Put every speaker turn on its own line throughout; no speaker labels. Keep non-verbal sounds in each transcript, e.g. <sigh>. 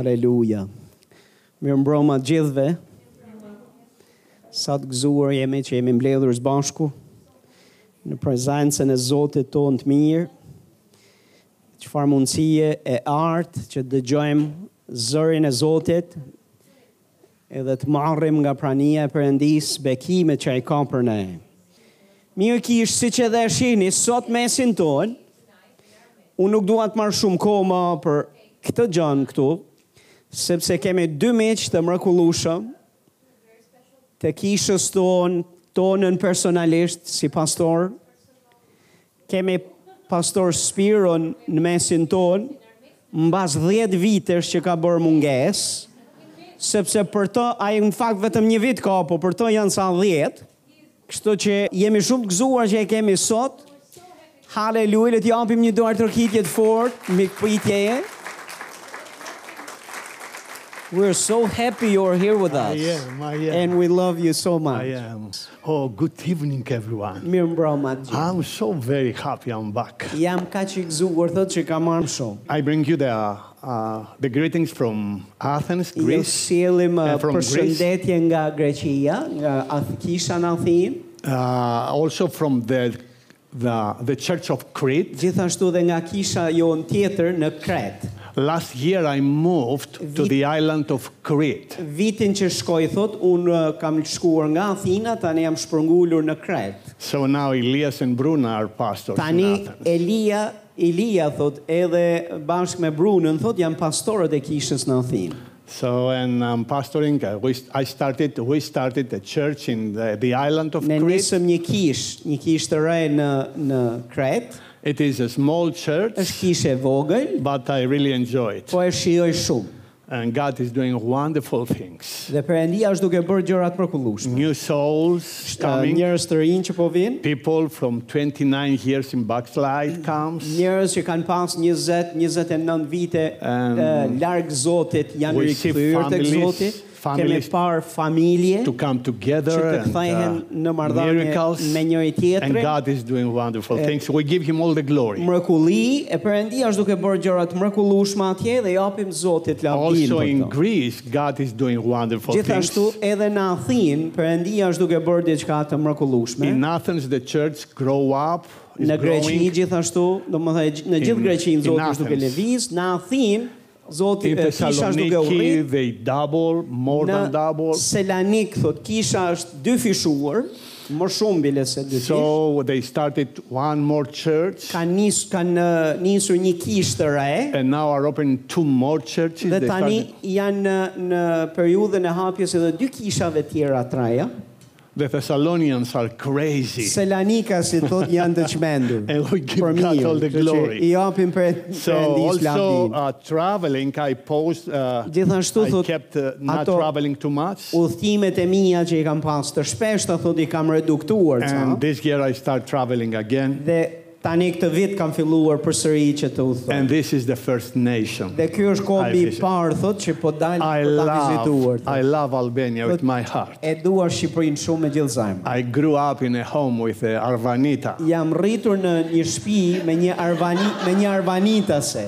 Haleluja. Mirë mbroma gjithve. Sa të gëzuar jemi që jemi mbledhur së bashku në prezencën e Zotit tonë të mirë. Çfarë mundësie e artë që dëgjojmë zërin e Zotit edhe të marrim nga prania e Perëndis bekimet që ai ka për ne. Mirë kish siç edhe e shihni sot mesin tonë. Unë nuk dua të marr shumë kohë më për këtë gjën këtu, sepse kemi dy miq të mrekullueshëm të kishës tonë, tonën personalisht si pastor. Kemi pastor Spiron në mesin tonë, mbas 10 vitesh që ka bërë mungesë, sepse për të ai në fakt vetëm një vit ka, po për të janë sa 10. Kështu që jemi shumë të gëzuar që e kemi sot. Haleluja, le të japim një dorë tërkitje të fortë, mikpritjeje. We're so happy you're here with us.
am, I am.
And we love you so much.
I am. Oh, good evening, everyone.
Mirë mbroma të gjithë.
I'm so very happy I'm back.
Jam kaq i gëzuar thotë që kam marrë shumë.
I bring you the, uh, the greetings from Athens,
Ju
Greece.
sjellim Jo, uh,
uh, from
përshëndetje nga Greqia, nga Ath- kisha në Athinë,
Uh, also from the, the, the Church of Crete.
gjithashtu dhe nga kisha jonë tjetër në Kret.
Last year I moved to
Vi-
the island of Crete.
Vitin që shkoj thot, unë uh, kam shkuar nga Athina, tani jam shpërngulur në Kret.
So now Elias and Bruna are pastors
Tani
in Athens.
Elia, Elia thot, edhe bashkë me Brunën thot, jam pastorët e kishës në Athinë.
So and I'm pastoring. Uh, we, I started. We started a church in the, the island of
Ne
Crete.
nisëm një kish, një kish të re në, në Kret,
It is a small church,
është kishë e vogël,
but I really enjoy it.
po e shijoj shumë.
And God is doing wonderful things.
Dhe Perëndia është duke bërë gjëra të mrekullueshme.
New souls
Ka
coming.
njerëz të rinj që po vinë,
People from 29 years in backslide comes.
njerëz që kanë pas 20, 29 vite
Um,
e, larg Zotit janë
we see
rikthyer tek
families-
Zoti. Kemi
families
parë familje
To come
që
together
të
and
kthehen në
uh,
marrëdhënie
miracles,
me njëri
and
tjetrin.
God is doing wonderful things. We give Him all the glory.
Mrekulli e Perëndia është duke bërë gjëra të mrekullueshme atje dhe japim Zotit lavdin
Also in
për këtë.
Greece, God is doing wonderful
Gjithashtu
things.
edhe në Athinë Perëndia është duke bërë diçka të mrekullueshme.
In Athens, the church grow up, is
Në Greqi
growing.
gjithashtu, domethënë në gjithë
In-
Greqinë
in
Zoti është duke
Athens.
lëviz, në Athinë Zoti
In
e, kisha është duke
Thessaloniki,
urrit.
they double,
Në
more than double.
Selanik thot kisha është dyfishuar, më shumë bile se dyfish.
So they started one more church.
kanë nis kanë uh, nisur një kishë të re
and now are opening two more churches.
dhe
They
tani
started-
janë në, në periudhën e hapjes edhe dy kishave tjera të reja.
the Thessalonians are crazy.
Selanika si thot janë të çmendur.
And we give
Për
God
mirë,
all the
kështu që
glory.
I japim për
So
Perëndis
also
lavdin.
uh, traveling, I post. Uh,
Gjithashtu
I
thot,
kept uh, not
ato-
traveling too much.
udhëtimet e mia që i kam pas të shpeshta thot i kam reduktuar
And
ca
this year I start traveling again.
dhe tani këtë vit kam filluar përsëri që të udhtoj.
And this is the first nation.
Dhe ky është kobi
I
i
visit-
parë thot që po dal
I
për ta vizituar.
love,
thot.
I love Albania with my heart.
E dua Shqipërinë shumë me gjithë zajm.
I grew up in a home with uh, Arvanita.
Jam rritur në një shtëpi me një arvani me një arvanitase.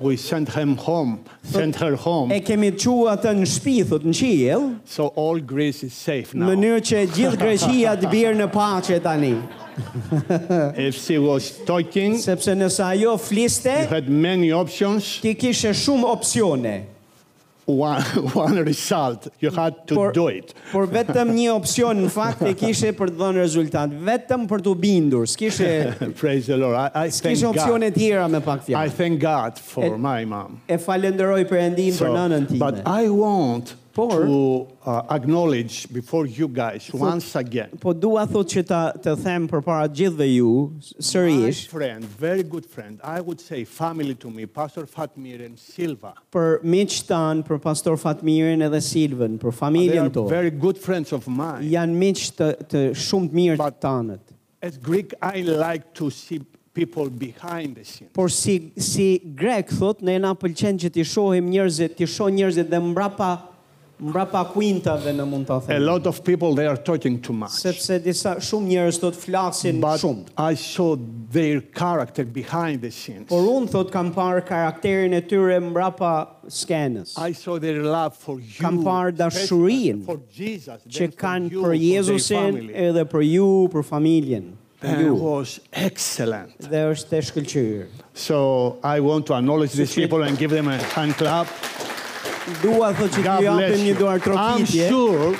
We sent him home, sent her
E
home.
kemi çu atë në shtëpi thot në qiell,
So all Greece is safe
në
now.
mënyrë që gjithë Greqia të bjerë në paqe tani.
If she was talking,
Sepse nëse ajo fliste,
You had many options,
ti kishe shumë opsione.
one, <laughs> one result. You had to
por,
do it.
por vetëm një opsion në fakt e kishe për të dhënë rezultat, vetëm për t'u bindur. S'kishe
Praise the Lord. I, I thank
s'kishe opsione
God.
tjera me pak
I
fjalë.
thank God for
E-
my mom.
E falenderoj Perëndin për nënën time.
but I want
Por-
to uh, acknowledge before you guys once again
Po dua thot që ta të them përpara të gjithëve ju s-
my
sërish
friend, very good friend. I would say family to me, Pastor Fatmir and Silva.
për miqtë tan, për pastor Fatmirin edhe Silvën, për
They are
familjen tonë.
very good friends of mine.
Janë miq të, të shumë të mirë të
But-
tanët.
As Greek, I like to see people behind the scenes.
Por si si grek thot, ne na pëlqen që ti shohim njerëzit, ti shoh njerëzit dhe mbrapa mbrapa kuintave në mund ta
A
them.
lot of people they are talking too much.
Sepse disa shumë njerëz thot flasin
But
shumë.
I saw their character behind the scenes.
Por unë thot kam parë karakterin e tyre mbrapa skenës.
I saw their love for you.
Kam parë
especially
dashurinë
for Jesus, then
që
for
kanë
you,
për
for their
Jezusin
family.
edhe për ju, për familjen. Për
And it
ju.
was excellent.
Dhe është e shkëlqyer.
So I want to acknowledge these
Succeed.
people and give them a hand clap.
Dua thot që
God
t'ju japim
bless
një
you.
duar
I'm
trokitje.
sure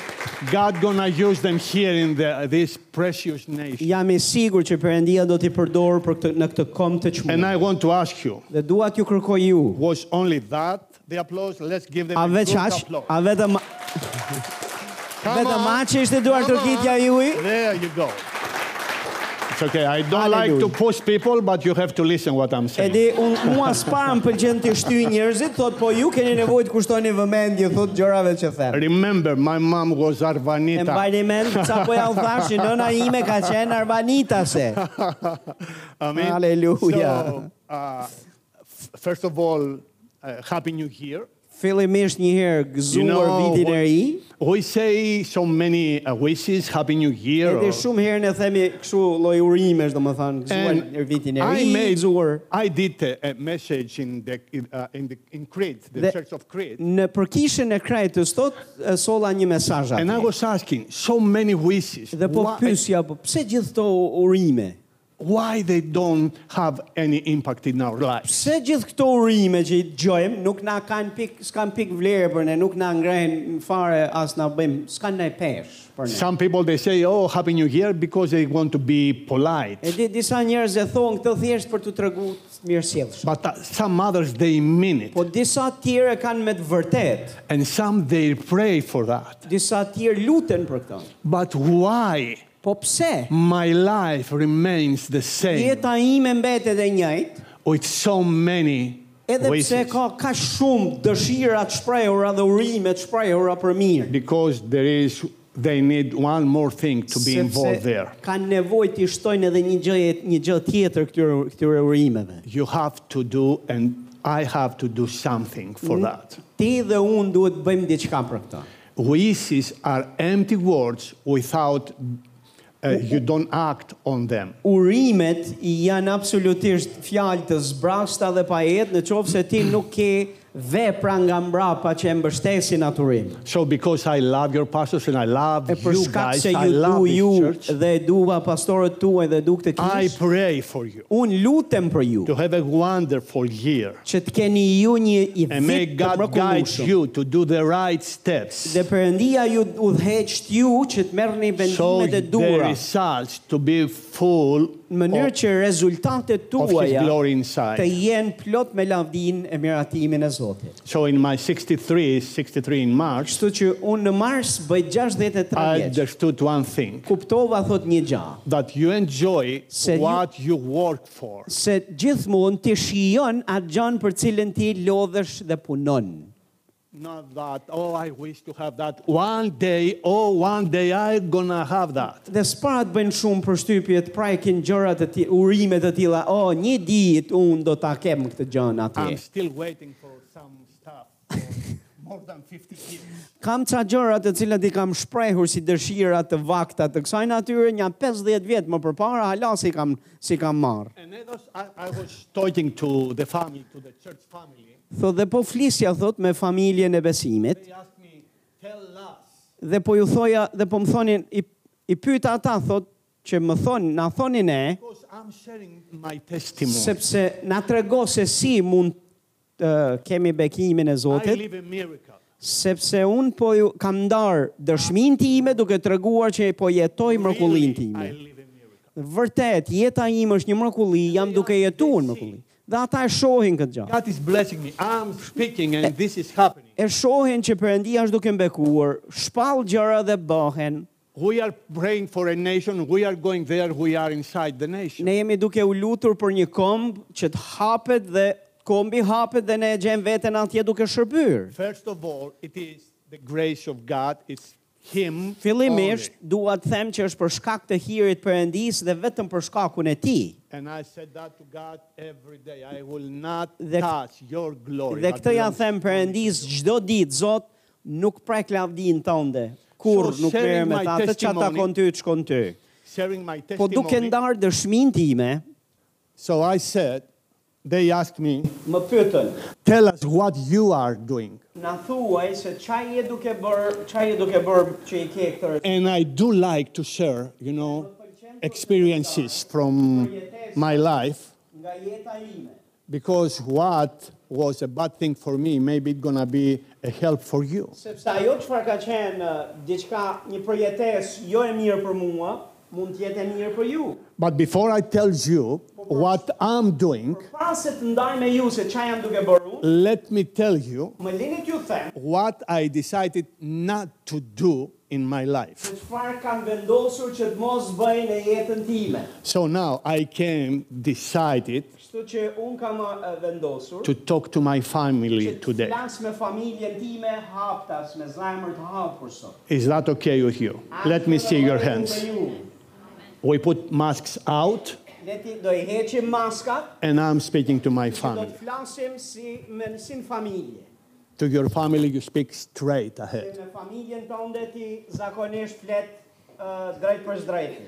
God gonna use them here in the, this precious nation.
Jam e sigurt që Perëndia do t'i përdor për këtë në këtë kom të
And
çmuar.
I want to ask you,
Dhe dua t'ju kërkoj ju.
was only that the applause? Let's give them
A
a good
veç aq,
applause.
a vetëm
Come
vetëm
on.
aq që ishte duar
Come
trokitja
on.
juaj.
There you go. It's okay. I don't like
Hallelujah.
to push people, but you have to listen what I'm saying.
Edi un mua s'pa më pëlqen të shtyj njerëzit, thot po ju keni nevojë të kushtoni vëmendje, thot gjërave që them.
Remember, my mom was
E
Arvanita.
mbajni mend sa po ja u thashë nëna ime ka qenë arvanitase.
Amen.
Hallelujah.
So, uh, f- first of all, uh, Happy New Year.
Fillimisht një herë
You
gëzuar
know,
vitin e
we-
ri.
We say so many uh, wishes, Happy New Year.
Edhe
or-
shumë herë ne themi kështu lloj urimesh, domethënë gëzuar
And
në vitin e
I
ri,
made,
gëzuar
I did a, a message in the in, uh, in the in Crete, the,
The-
Church of Crete,
në përkishën e krajtës thot e solla një mesazh
and I
aty.
was asking so many wishes.
Dhe po
why,
pyesja, po pse gjithë këto urime?
why they don't have any impact in our lives?
Pse gjithë këto urime që i dëgjojmë nuk na kanë pik, s'kan pik vlerë për ne, nuk na ngrejnë fare as na bëjmë, s'kan ndaj pesh për ne.
Some people they say, "Oh, Happy New Year," because they want to be polite.
E di disa njerëz e thonë këtë thjesht për t'u treguar mirësjellsh.
But uh, some others they mean it,
Po disa tjerë e kanë me të vërtet,
and some they pray for that.
disa tjerë luten për këtë.
But why
Po pse?
my life remains the same
Jeta ime mbetet e njëjtë,
with so many
edhe pse
wishes?
ka ka shumë dëshira të shprehura dhe urime të shprehura për mirë.
Because there is, they need one more thing to be involved there.
kanë nevojë të shtojnë edhe një gjë një gjë tjetër këtyre këtyre urimeve.
You have to do, and I have to do something for that.
Ti dhe unë duhet të bëjmë diçka për këtë.
Wishes are empty words without uh, you don't act on them.
Urimet janë absolutisht fjalë të zbrasta dhe pa jetë në qoftë se ti nuk ke vepra nga mbrapa që e mbështesin atë urim.
So because I love your pastors and I love
E për
you
shkak
guys,
se
I
ju
love
du ju
this church,
dhe e duva pastorët tuaj dhe duk të
I
kishë,
pray for you
unë lutem për ju
to have a wonderful year.
që të keni ju një i
And may
vit të
God guide
mrekullueshëm.
you to do the right steps.
Dhe Perëndia ju udhëheqt ju që të merrni
So
vendimet e
the
duhura
results to be full
në mënyrë që rezultatet
of His
tuaja
glory
të
inside.
jenë plot me lavdin e miratimin e Zotit.
So in my 63, 63 in March,
Kështu që unë në mars bëj 63
I
vjeç.
understood one thing
Kuptova thot një gjë,
that you enjoy
Se ju-
what you work for.
se gjithmonë ti shijon atë gjën për cilën ti lodhesh dhe punon.
Not that, oh, I wish to have that. One day, oh, one day I'm gonna have that.
Dhe sparat bëjnë shumë përshtypje të prajkin gjëra të ti, urime të tilla. O, një ditë unë do ta kem këtë gjën
I'm
atje.
still waiting for some stuff for <laughs> more than 50 years.
Kam ca gjëra të cilat i kam shprehur si dëshira të vakta të kësaj natyre një 50 vjet më përpara, hala si kam si kam marr.
And that was, I, I was talking to the family, to the church family.
Thot dhe po flisja thot me familjen e besimit
They asked me, tell us
dhe po ju thoja dhe po më thonin i, i pyeta ata thot që më thonë, na thonin e
Because I'm sharing my testimony.
sepse na trego se si mund të kemi bekimin e
I
Zotit
live a miracle.
sepse un po ju kam ndar dëshminë time duke treguar që po jetoj mrekullinë
Really, I
time.
live a miracle.
Vërtet, jeta ime është një mrekulli, jam duke jetuar në mrekulli. Dhe ata e shohin këtë gjë.
God is blessing me. I'm speaking and this is happening.
E shohin që Perëndia është duke mbekuar, shpall gjëra dhe bëhen.
We are praying for a nation. We are going there. We are inside the nation.
Ne jemi duke u lutur për një komb që të hapet dhe kombi hapet dhe ne e gjejmë veten atje duke shërbyer.
First of all, it is the grace of God. It's Him.
Fillimisht
only.
dua të them që është për shkak të hirit Perëndis dhe vetëm për shkakun e tij.
And I said that to God every day. I will not
Dhe-
touch your glory.
Dhe
that
këtë ja
belongs
them Perëndis çdo ditë, Zot,
nuk prek lavdin tënde, kur
So,
nuk merr
sharing
me
my
ta, të çka
testimony-
takon ty, të shkon ty.
sharing my
Po duke
testimony.
ndarë dëshmin time,
So I said, they asked me,
më pyetën,
tell us what you are doing.
na thuaj se çaj je duke bër, çaj je duke bër që i ke këtë
And I do like to share, you know, experiences from my life
nga jeta ime.
because what was a bad thing for me, maybe it's gonna be a help for you.
Sepse ajo çfarë ka qenë uh, diçka një përjetesë jo e mirë për mua, mund të jetë e mirë për ju.
But before I tell you what I'm doing,
Para se të ndaj me ju se çaj jam duke bërë unë,
let me tell you
më lini t'ju them
what I decided not to do in my life.
se çfarë kam vendosur që të mos bëj në jetën time.
So now I came decided
Kështu që un kam uh, vendosur
to talk to my family
që të
today.
flas me familjen time haptas me zemër të hapur sot.
Is that okay with you? Let me see your hands. We put masks out
Ne ti do i heqim maskat,
and I'm speaking to my
do
family.
të flasim si me si në familje.
To your family you speak straight ahead.
Me familjen tënde ti zakonisht flet uh, drejt për drejtë.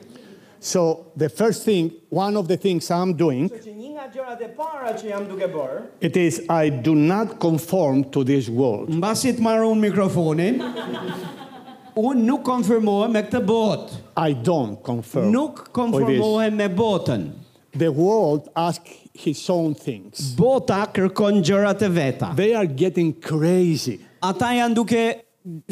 So the first thing, one of the things I'm doing,
Kështu që një nga gjërat e para që jam duke bërë,
it is I do not conform to this world.
Mbasi të marrë unë mikrofonin, unë nuk konfirmohem me këtë botë.
I don't conform.
Nuk
with this.
konformohem me botën.
The world asks his own things.
Bota kërkon gjërat e veta.
They are getting crazy.
Ata janë duke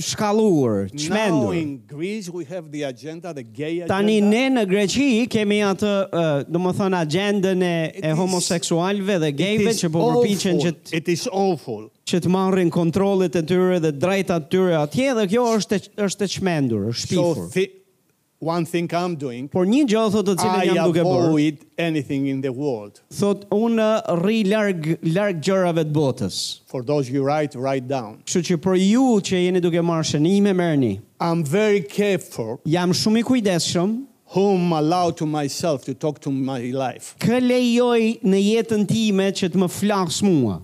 shkalluar,
Now
çmendur.
in Greece we have the agenda, the gay agenda.
Tani ne në Greqi kemi atë, uh, do më thënë, agendën e, e
is-
homoseksualve dhe
It
gejve
is
që po përpiqen që
awful.
të
It is awful.
që të marrin kontrollet e tyre dhe drejtat e tyre atje dhe kjo është e- është e çmendur, është
So
shpifur.
thi- one thing I'm doing,
Por një gjë thotë të
po I
cilën jam duke bërë,
avoid anything in the world.
thotë unë rri larg larg gjërave të botës.
For those you write, write down.
Kështu që për ju që jeni duke marrë shënime, merrni.
I'm very careful
Jam shumë i kujdesshëm,
whom allow to myself to talk to my life.
kë lejoj në jetën time që të më flas mua.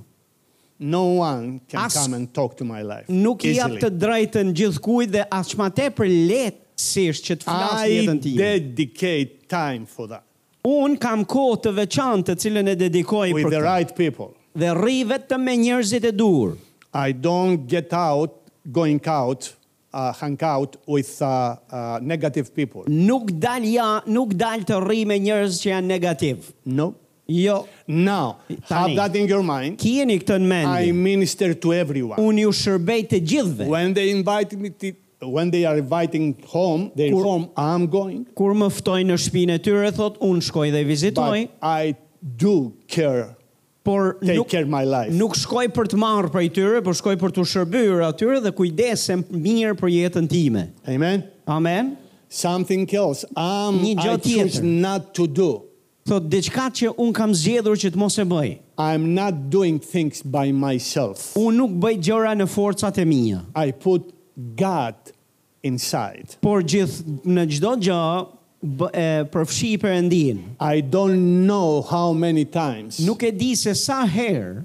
No one can
Ask-
come and talk to my life.
Nuk i jap
easily.
të drejtën gjithkujt dhe as më tepër lehtësisht që të flas në
I
jetën time.
dedicate time for that
Un kam kohë të veçantë të cilën e dedikoj
with
për
the
këtë.
right people.
Dhe rri vetëm me njerëzit e dur.
I don't get out, going out, uh, hang out with uh, uh, negative people.
Nuk dal ja, nuk dal të rri me njerëz që janë negativ.
No.
Jo,
Now, have
Tani.
that in your mind.
kjeni këtë në
I
mendje.
minister to everyone.
Unë ju shërbej të gjithve.
When they invite me to, when they are inviting home, their
Kur-
home, I'm going.
Kur më ftoj në shtëpinë e tyre, thot unë shkoj dhe i vizitoj,
But I do care,
por
take
nuk
care my life.
nuk shkoj për të marrë prej tyre, por shkoj për të shërbyer atyre dhe kujdesem mirë për jetën time.
Amen.
Amen.
Something else. I'm,
Një gjë
I choose
tjetër.
not to do.
Thot diçka që un kam zgjedhur që të mos e bëj.
I'm not doing things by myself.
Unë nuk bëj gjëra në forcat e mia,
I put God inside.
por gjithë në çdo gjë bë- e, përfshi Perëndin.
I don't know how many times
Nuk e di se sa herë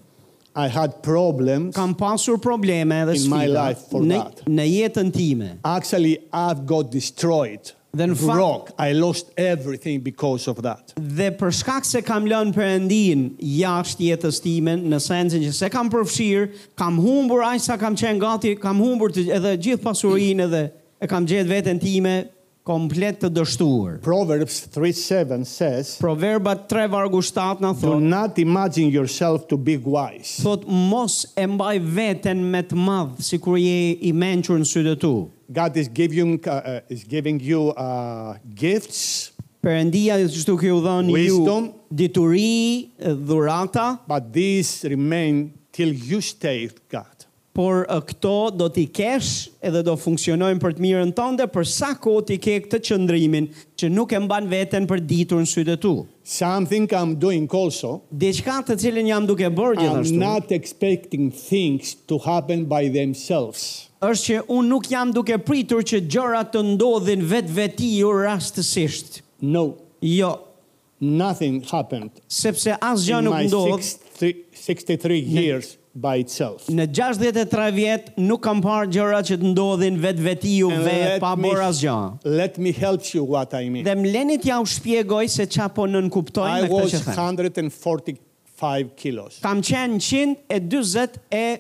I had problems.
kam pasur probleme dhe
In my
sfida
life for
në,
that.
në jetën time.
Actually, I've got destroyed.
Then fuck.
broke. I lost everything because of that.
Dhe për shkak se kam lënë Perëndin jashtë jetës time, në sensin që se kam përfshirë, kam humbur aq sa kam qenë gati, kam humbur të, edhe gjithë pasurinë edhe e kam gjetë veten time komplet të dështuar.
Proverbs 3 7 says,
Proverbat 3 vargu 7 na
Do
thon,
not imagine yourself to be wise.
thot mos e mbaj veten me të madh sikur je i mençur në sytë të tu.
God is giving, uh, uh, is giving you uh, gifts,
Perëndia çtu që u dhën ju
Wisdom.
dituri, dhurata,
but these remain till you stay with God.
por e, këto do t'i kesh edhe do funksionojnë për të mirën tënde për sa kohë ti ke këtë qëndrimin që nuk e mban veten për ditur në sytë të tu.
Something I'm doing also.
Diçka të cilën jam duke bërë
I'm
gjithashtu
not expecting things to happen by themselves.
është që unë nuk jam duke pritur që gjërat të ndodhin vetë vetiu rastësisht.
No,
Jo,
nothing happened
sepse asgjë
in
nuk
my
ndodh
63, 63 years by itself.
Në 63 vjet nuk kam parë gjëra që të ndodhin vetë vetiu
And
vetë
let
pa
me-
bërë asgjë.
Let me help you what I mean.
Dhe më leni t'ja u shpjegoj se qa po nën kuptoj
I
me këtë
was
që them.
145 kilos.
Kam qenë 140 e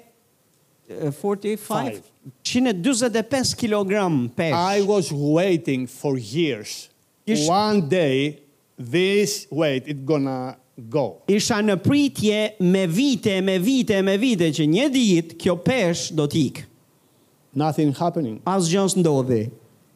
e 45
Five.
145 kg
I
pesh.
was waiting for years.
Ish-
One day, this weight it gonna go.
Isha në pritje me vite, me vite, me vite që një ditë kjo pesh do t'ik.
Nothing happening
Asgjë s'ndodhi.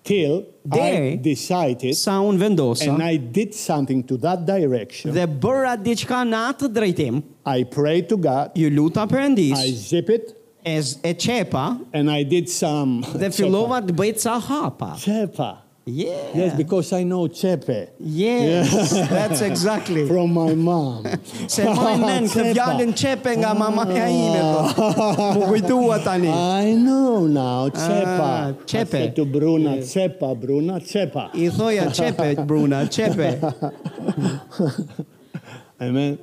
till I
Deri-
decided
Sa unë vendosa
and I did something to that direction.
dhe bëra diçka në atë drejtim,
I prayed to God.
ju luta Perëndis,
I zip it
e, z- e qepa
and I did some.
dhe
<laughs> Cepa.
fillova të bëj ca hapa.
Cepa.
Yeah.
Yes, because I know Chepe
Yes, that's exactly.
from my
<laughs>
mom.
Se
<laughs>
moj nën këtë
Cepa.
fjallën qepe nga mamaja ime, po. Më kujtua tani.
I know now,
Ah,
Cepa.
Cepe.
I said to Bruna, Cepa, Bruna, Cepa.
I thoja qepe, Bruna, qepe.
Amen.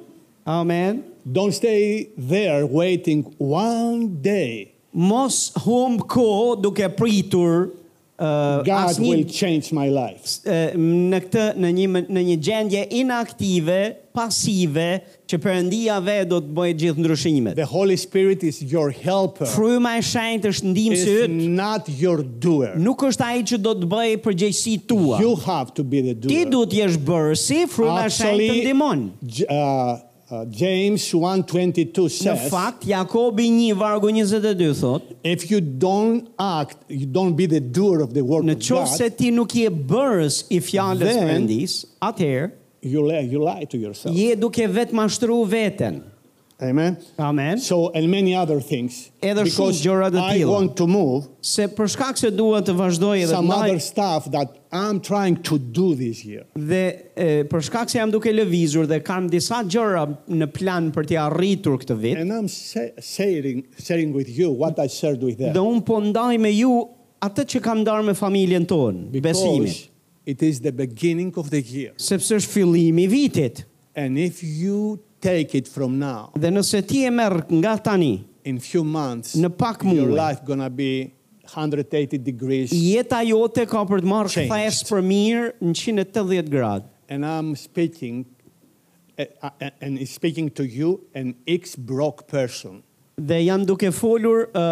Amen.
Don't stay there waiting one day.
Mos humb ko duke pritur uh,
God will
asnjë
change my life.
eh, në këtë në një në një gjendje inaktive, pasive që Perëndia vetë do të bëjë gjithë ndryshimet.
The Holy Spirit is your helper.
Fryma e shenjtë është ndihmësi
It's
yt,
not your doer.
nuk është ai që do të bëjë përgjegjësitë tua.
You have to be the
Ti
doer.
duhet jesh bërësi, fryma e shenjtë të ndihmon.
J- uh, uh, James 1:22
Në
says,
fakt Jakobi 1 vargu 22 thot,
if you don't act, you don't be the doer of the work
në
of God,
qoftë se ti nuk je bërës i fjalës
Then-
Perëndis, atëherë
you, li- you lie to yourself.
je duke vetë mashtru veten.
Amen.
Amen.
So and many other things.
Edhe shumë
because
gjëra të
I
tilla.
want to move
Se për shkak se dua të vazhdoj edhe të
some
ndaj
other stuff that I'm trying to do this year.
dhe e, për shkak se jam duke lëvizur dhe kam disa gjëra në plan për t'i arritur këtë vit,
And I'm sa- sharing, sharing with you what I shared with them.
dhe un po ndaj me ju atë që kam ndarë me familjen tonë, besimin,
Because it is the beginning of the year.
sepse është fillimi i vitit.
And if you take it from now,
Dhe nëse ti e merr nga tani,
in few months,
Në pak
your
muaj.
life gonna be 180 degrees.
jeta jote ka për të marrë
Changed.
kthesë për mirë 180 gradë.
And I'm speaking, eh, eh, and speaking to you, an ex-broke person.
Dhe jam duke folur, ë,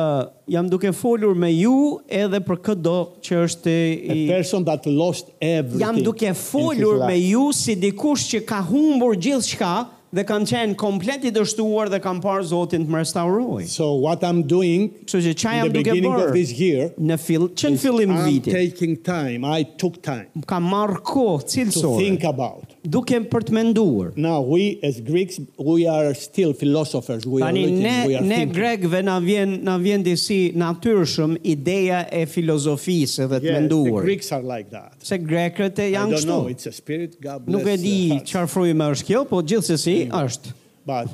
jam duke folur me ju edhe për këdo që është i
A person that lost everything.
jam duke
in his
folur me
life.
ju si dikush që ka humbur gjithçka dhe kam qenë komplet i dështuar dhe kam parë Zotin të më restauroj.
So what I'm doing
Kështu që çaj
in the
jam duke e
beginning of
bërë
this year,
në fill, që në fillim të
I'm
vitit,
taking time. I took time
kam marrë kohë
to
cilësore,
think about.
duke për të menduar.
Now we as Greeks, we are still philosophers. We are
Tani
looking,
ne
we are
ne
thinking.
grekëve na vjen na vjen disi natyrshëm ideja e filozofisë dhe të
Yes, the
menduar.
Greeks are like that.
Se grekët e
I
janë
don't
kështu.
know. It's uh, a spirit. God bless
Nuk e
their
di
hearts.
çfarë frymë është kjo, po gjithsesi është.
But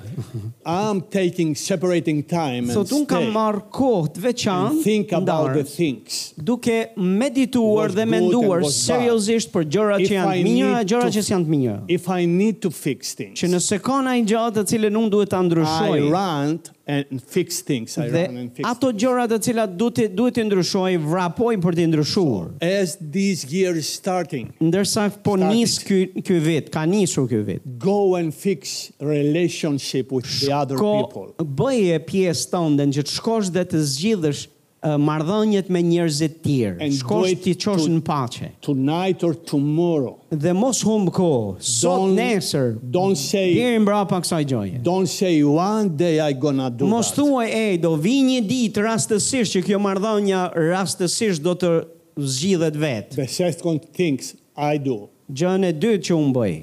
I'm taking separating time and
Sot un kam
stay
marr kohë të
and
veçantë
think about the
ndarë,
things.
duke medituar dhe
What's good and
menduar
what's bad.
seriozisht për gjërat
If
që janë të
I
mira,
need
gjërat
to-
që janë të mira.
If I need to fix things,
Që nëse ka ndaj gjë të cilën unë duhet ta
I
ndryshoj,
run and fix things. I
dhe
run and fix
ato gjëra të cilat duhet t'i- duhet të ndryshoj, vrapoj për të ndryshuar.
things. As this year is starting,
Ndërsa po
Static.
nis ky ky vit, ka nisur ky vit.
go and fix relationship with the other
Ko
people.
bëje pjesë tënde që të shkosh dhe të zgjidhësh uh, marrëdhëniet me njerëzit tjerë.
And do
Shkosh
it
ti çosh
to-
në paqe.
Tonight or tomorrow.
Dhe mos humb kohë. Sot
Don't-
nesër.
don't say-
deri mbrapa kësaj gjëje.
Don't say one day I gonna do
Mos
that.
thuaj e do vi një ditë rastësisht që kjo marrëdhënie rastësisht do të zgjidhet vetë.
The second things I do.
Gjën e dytë që unë bëj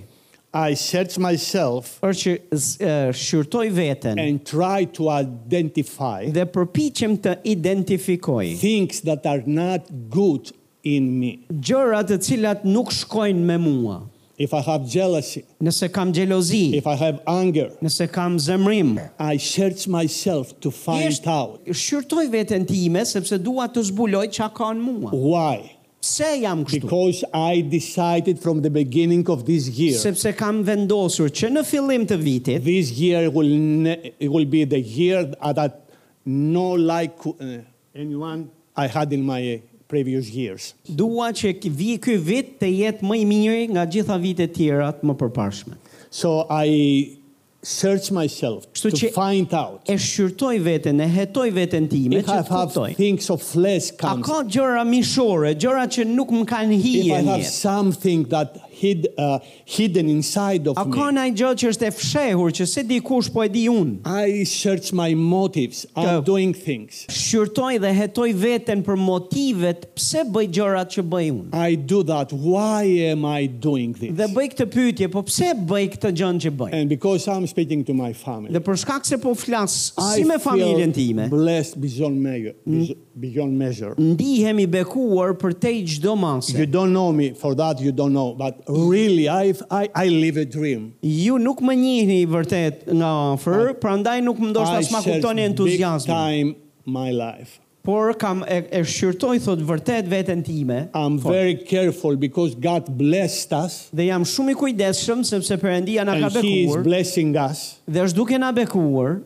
I search myself
është që z- eh, shqyrtoj veten
and try to identify
dhe përpiqem të identifikoj.
things that are not good in me.
gjëra të cilat nuk shkojnë me mua.
If I have jealousy,
Nëse kam xhelozi,
if I have anger,
nëse kam zemrim,
I search myself to find
thjesht
out
shqyrtoj veten time sepse dua të zbuloj çka ka në mua.
why
Pse jam kështu?
Because I decided from the beginning of this year.
Sepse kam vendosur që në fillim të vitit
This year will ne- it will be the year that no like uh, anyone I had in my uh, previous years.
dua që k- vi ky vit të jetë më i miri nga gjitha vitet tjera të më përparshme.
So I searched myself
Kështu
to
që-
find out
E shqyrtoj veten, e hetoj veten time
if
që
I
të
have
kuptoj.
things of flesh
A
comes.
ka gjëra mishore, gjëra që nuk më kanë
If
hije
I
në
have
jetë?
something that hid, uh, hidden inside of
A ka
me,
ndaj gjë që është e fshehur që se dikush po e di unë?
I search my motives. I'm
Ka-
doing things.
Shqyrtoj dhe hetoj veten për motivet pse bëj gjërat që bëj unë.
I do that. Why am I doing this?
Dhe bëj këtë pyetje, po pse bëj këtë gjën që bëj?
and because I'm speaking to my family,
Dhe për shkak se po flas
I
si me
feel
familjen time,
blessed beyond measure.
Mm.
Beyond measure.
ndihem i bekuar për te çdo
You
mase.
don't know me for that. You don't know, but really, I've, I I live a dream.
Ju nuk më njihni i vërtet nga afër, prandaj nuk më ndoshta
I
s'ma
search
kuptoni
big
entuziazmin.
time my life.
Por kam e, e shqyrtoj thot vërtet veten time.
I'm
fort.
very careful because God blessed us
Dhe jam shumë i kujdesshëm sepse Perëndia na ka
and He is
bekuar
blessing us.
dhe është duke na bekuar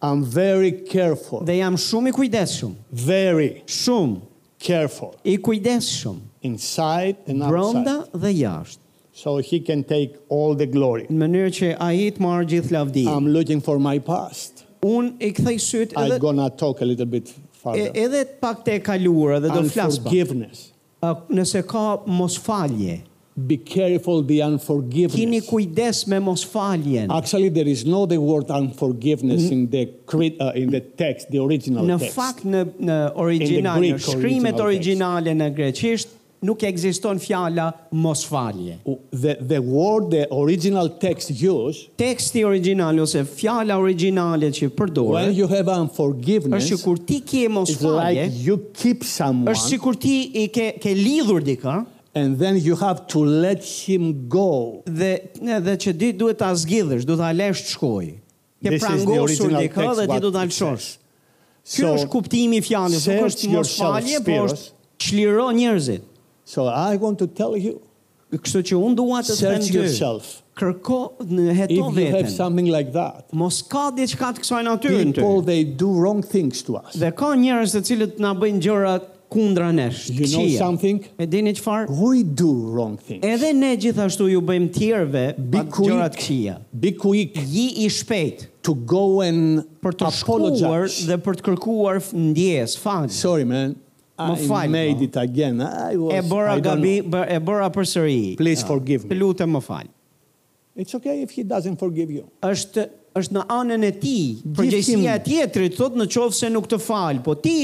I'm very careful,
dhe jam shumë i kujdesshëm,
very
shumë
careful
i kujdesshëm
inside and outside.
brenda dhe jashtë,
So He can take all the glory.
në mënyrë që ai të marrë gjithë lavdin.
I'm looking for my past.
Unë i kthej syt
I'm
edhe
gonna talk a little bit
e-
further.
edhe pak të e kaluara dhe do
And
të flas pak.
forgiveness.
A, Nëse ka mosfalje,
Be careful the
kini
unforgiveness.
kujdes me mosfaljen.
Actually, there is no the word unforgiveness in the cre- uh, in the text, the original
Në
text.
fakt në në origjinal,
Greek
në shkrimet
original
origjinale në greqisht nuk ekziston fjala mosfalje.
Uh, the, the word, the original text used,
teksti origjinal ose fjala origjinale që
when
përdoret
you have unforgiveness,
është që kur ti ke mos
it's
falje,
like you keep someone
është sikur ti i ke ke lidhur dikë
and then you have to let him go.
dhe edhe që ti duhet ta zgjidhësh, duhet ta lesh të shkojë. Ke
This is the
prangosur
original
dikë
text
dhe ti
what
do ta
it
lëshosh.
says.
Ky
So-
është kuptimi i fjalës, nuk
search
është mos
yourself,
falje, po
Spiros.
është çliro njerëzit.
So I want to tell you,
Kështu që unë dua të them
search
ty.
yourself.
Kërko në
If
heto
you have
veten. e
something like that,
Mos ka diçka të kësaj natyre në ty.
people they do wrong things to us.
Dhe ka njerëz të cilët na bëjnë gjëra kundra nesh.
You know
këqija.
something?
E dini çfarë?
We do wrong things.
Edhe ne gjithashtu ju bëjmë tjerëve
Be
atë gjëra të
quick,
këqija.
be quick
Ji i shpejt
to go and
për të shkuar
apologize.
dhe për të kërkuar f- ndjes, fal.
Sorry, man.
Më
I
fal,
made
mo.
it again. I was,
E bëra
I don't
gabi,
know.
bë- e bëra përsëri.
Please
Ja.
forgive me.
Të lutem më fal.
It's okay if he doesn't forgive you.
Është është në anën e ti, përgjegjësia e
him-
tjetrit thot në qoftë se nuk të fal, po ti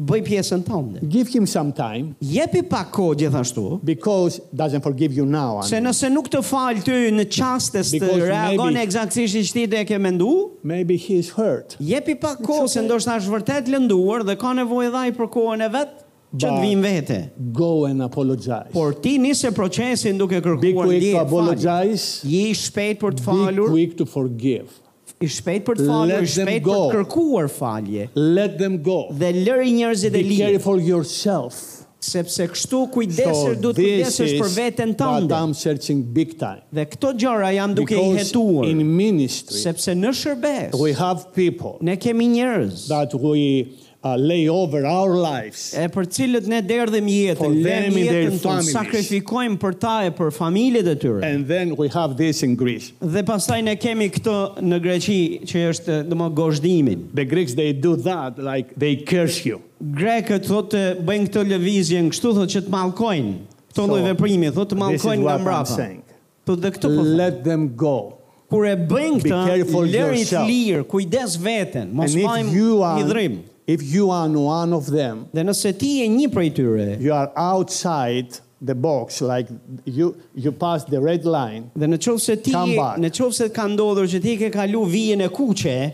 bëj pjesën tënde.
Give him some time
Jepi pak kohë gjithashtu.
because doesn't forgive you now. I
Se
mean.
nëse nuk të falë ty në qastes të
Because
reagon
maybe-
eksaktësisht i shtite e ke mendu,
Maybe he is hurt.
jepi pak kohë se
okay.
ndoshta është vërtet lënduar dhe ka nevojë dhaj për kohën e vet që të
But-
vinë vete.
Go and apologize.
Por ti nisi procesin duke
be
kërkuar
quick to
ndje. falje.
apologize.
Je i shpejt për të
Be
falur,
quick to forgive.
i shpejt për të
Let
falur, i
them
shpejt
go.
për të kërkuar falje
Let them go.
dhe lëri njerëzit e
Be
lirë,
careful yourself.
sepse kështu
So
kujdesesh duhet
this
kujdesesh
is
për veten
what
tënde.
I'm searching big time.
Dhe këto gjëra jam duke i
Because
hetuar,
in ministry,
sepse në shërbes
we have people
ne kemi njerëz
that we uh, lay over our lives.
e për cilët ne derdhëm
For
jetën, lëm
them in their
jetën tonë,
families.
sakrifikojmë për ta e për familjet e tyre.
And then we have this in Greece.
Dhe pastaj ne kemi këtë në Greqi që është domo gozhdimin.
The Greeks, they do that, like they curse you.
Grekët thotë bëjnë këtë lëvizjen kështu thotë që të mallkojnë. Këto
So,
lloj veprimi thotë të
this is
mallkojnë nga
what I'm
mbrapa.
saying.
Thotë dhe këtu po thotë.
Let them go.
Kur e bëjnë
Be
këtë,
careful
lëri të
yourself.
lirë, kujdes veten,
And
mos
if you
vajmë
are,
hidrim.
if you are one of them,
Dhe nëse ti je një prej tyre,
you are outside the box, like you you pass the red line.
Dhe në qovë se ti,
Come back.
në qovë se ka ndodhur që ti ke kalu vijen e kuqe,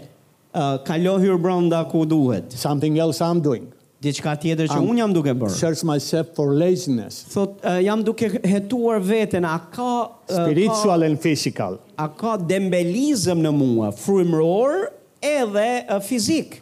uh, kalo hyrë brenda ku duhet.
Something else I'm doing.
Diçka tjetër që
Am-
unë jam duke bërë.
Search myself for laziness,
Thot, uh, jam duke hetuar veten, a ka, uh,
spiritual and physical.
ka, a ka dembelizëm në mua, frymëror edhe uh, fizik.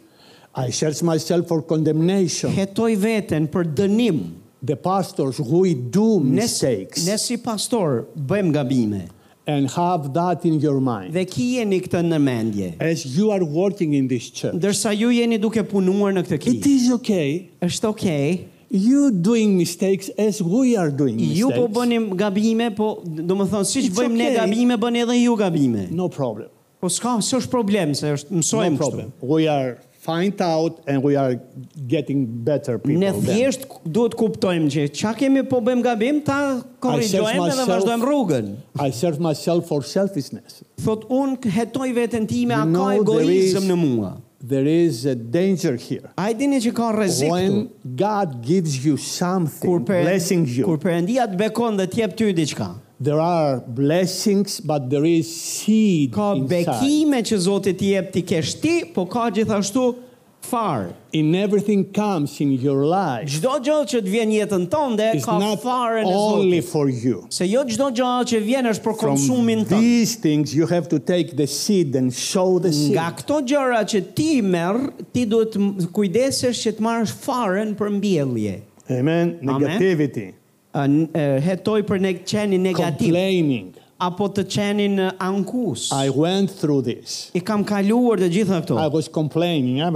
I search myself for condemnation.
Hetoj veten për dënim.
the pastors, we do
Ne,
mistakes.
ne si pastor bëjmë gabime
and have that in your mind.
dhe ki jeni këtë në mendje.
As you are working in this church,
Ndërsa ju jeni duke punuar në këtë
it
ki.
is okay.
Është okay.
You doing mistakes as we are doing mistakes.
Ju po bëni gabime, po do më thonë, si që
It's
bëjmë ne
okay.
gabime, bëni edhe ju gabime.
No problem.
Po s'ka, së është problem, se është
No
mësojmë kështu.
problem. We are find out and we are getting better people.
Ne
then.
thjesht duhet kuptojmë që çka kemi po bëjmë gabim, ta
I serve
korrigjojmë dhe
myself-
vazhdojmë rrugën.
I serve myself for selfishness.
Thot unë hetoj veten time, a
You know,
ka
there
egoizëm
is-
në mua.
There is a danger here.
A i dini që ka rrezik këtu.
When God gives you something,
Kur për
blessing you,
kur Perëndia të bekon dhe të jep ty diçka.
there are blessings, but there is seed
Ka
inside.
bekime që Zoti të jep ti kesh ti, po ka gjithashtu farë.
In everything comes in your life.
Çdo gjë që të vjen jetën tënde
It's
ka
not
farën e
only
Zotit.
for you.
Se jo çdo gjë që vjen është për konsumin
From
tënd.
these things, you have to take the seed and sow the seed.
Nga këto gjëra që ti merr, ti duhet të m- kujdesesh që të marrësh farën për mbjellje.
Amen. Negativity,
A, n- e, Hetoj për ne qenin negativ
complaining.
apo të qenin e, ankus.
I went through this.
I kam kaluar të gjitha këto.
I was complaining. Ah,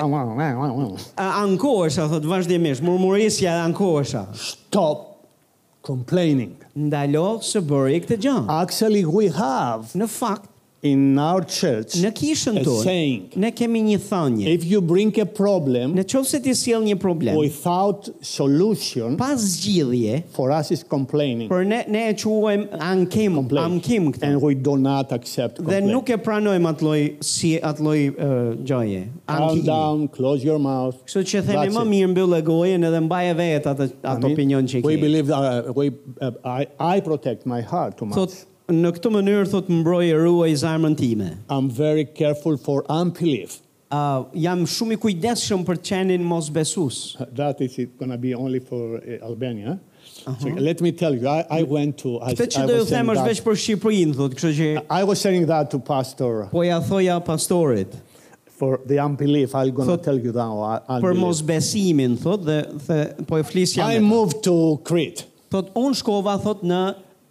Sepse- A- Ankohesha, thot vazhdimisht, murmurisja e ankohesha.
Stop complaining.
Ndalo së bëri këtë gjë.
Actually, we have
Në fakt,
in our church,
në kishën
A saying.
tonë, ne kemi një thënie.
if you bring a problem
Në qovë se ti sjell një problem,
without solution,
pas zgjidhje,
for us is complaining.
për ne, ne e quajmë ankim,
Complain.
ankim këtë.
And we do not accept
Dhe
complaint.
nuk e pranojmë atë lloj si atë lloj uh, gjaje,
Calm
ankimi.
down, close your mouth.
Kështu që themi
That's
më
it.
mirë mbyll e gojen edhe mbaj e vet atë
I
atë
mean,
opinion që
We
ke.
believe that uh, we, uh, I, I protect my heart too much.
Thot në këtë mënyrë thot mbroj e ruaj zarmën time.
I'm very careful for unbelief.
Uh, jam shumë i kujdesshëm për qenin mos besus.
That is going to be only for uh, Albania. So let me tell you, I, I went to. I,
Këtë që
I
do ju
was
them
saying
është
that-
veç për Shqipërinë, thot, kështu që
I was saying that to pastor
po ja thoja pastorit
for the unbelief. I'm going to
Thot-
tell you now. I,
për
unbelief.
mosbesimin, thot, dhe, the, po e flisja.
I
me.
moved to Crete.
Thot unë shkova thot në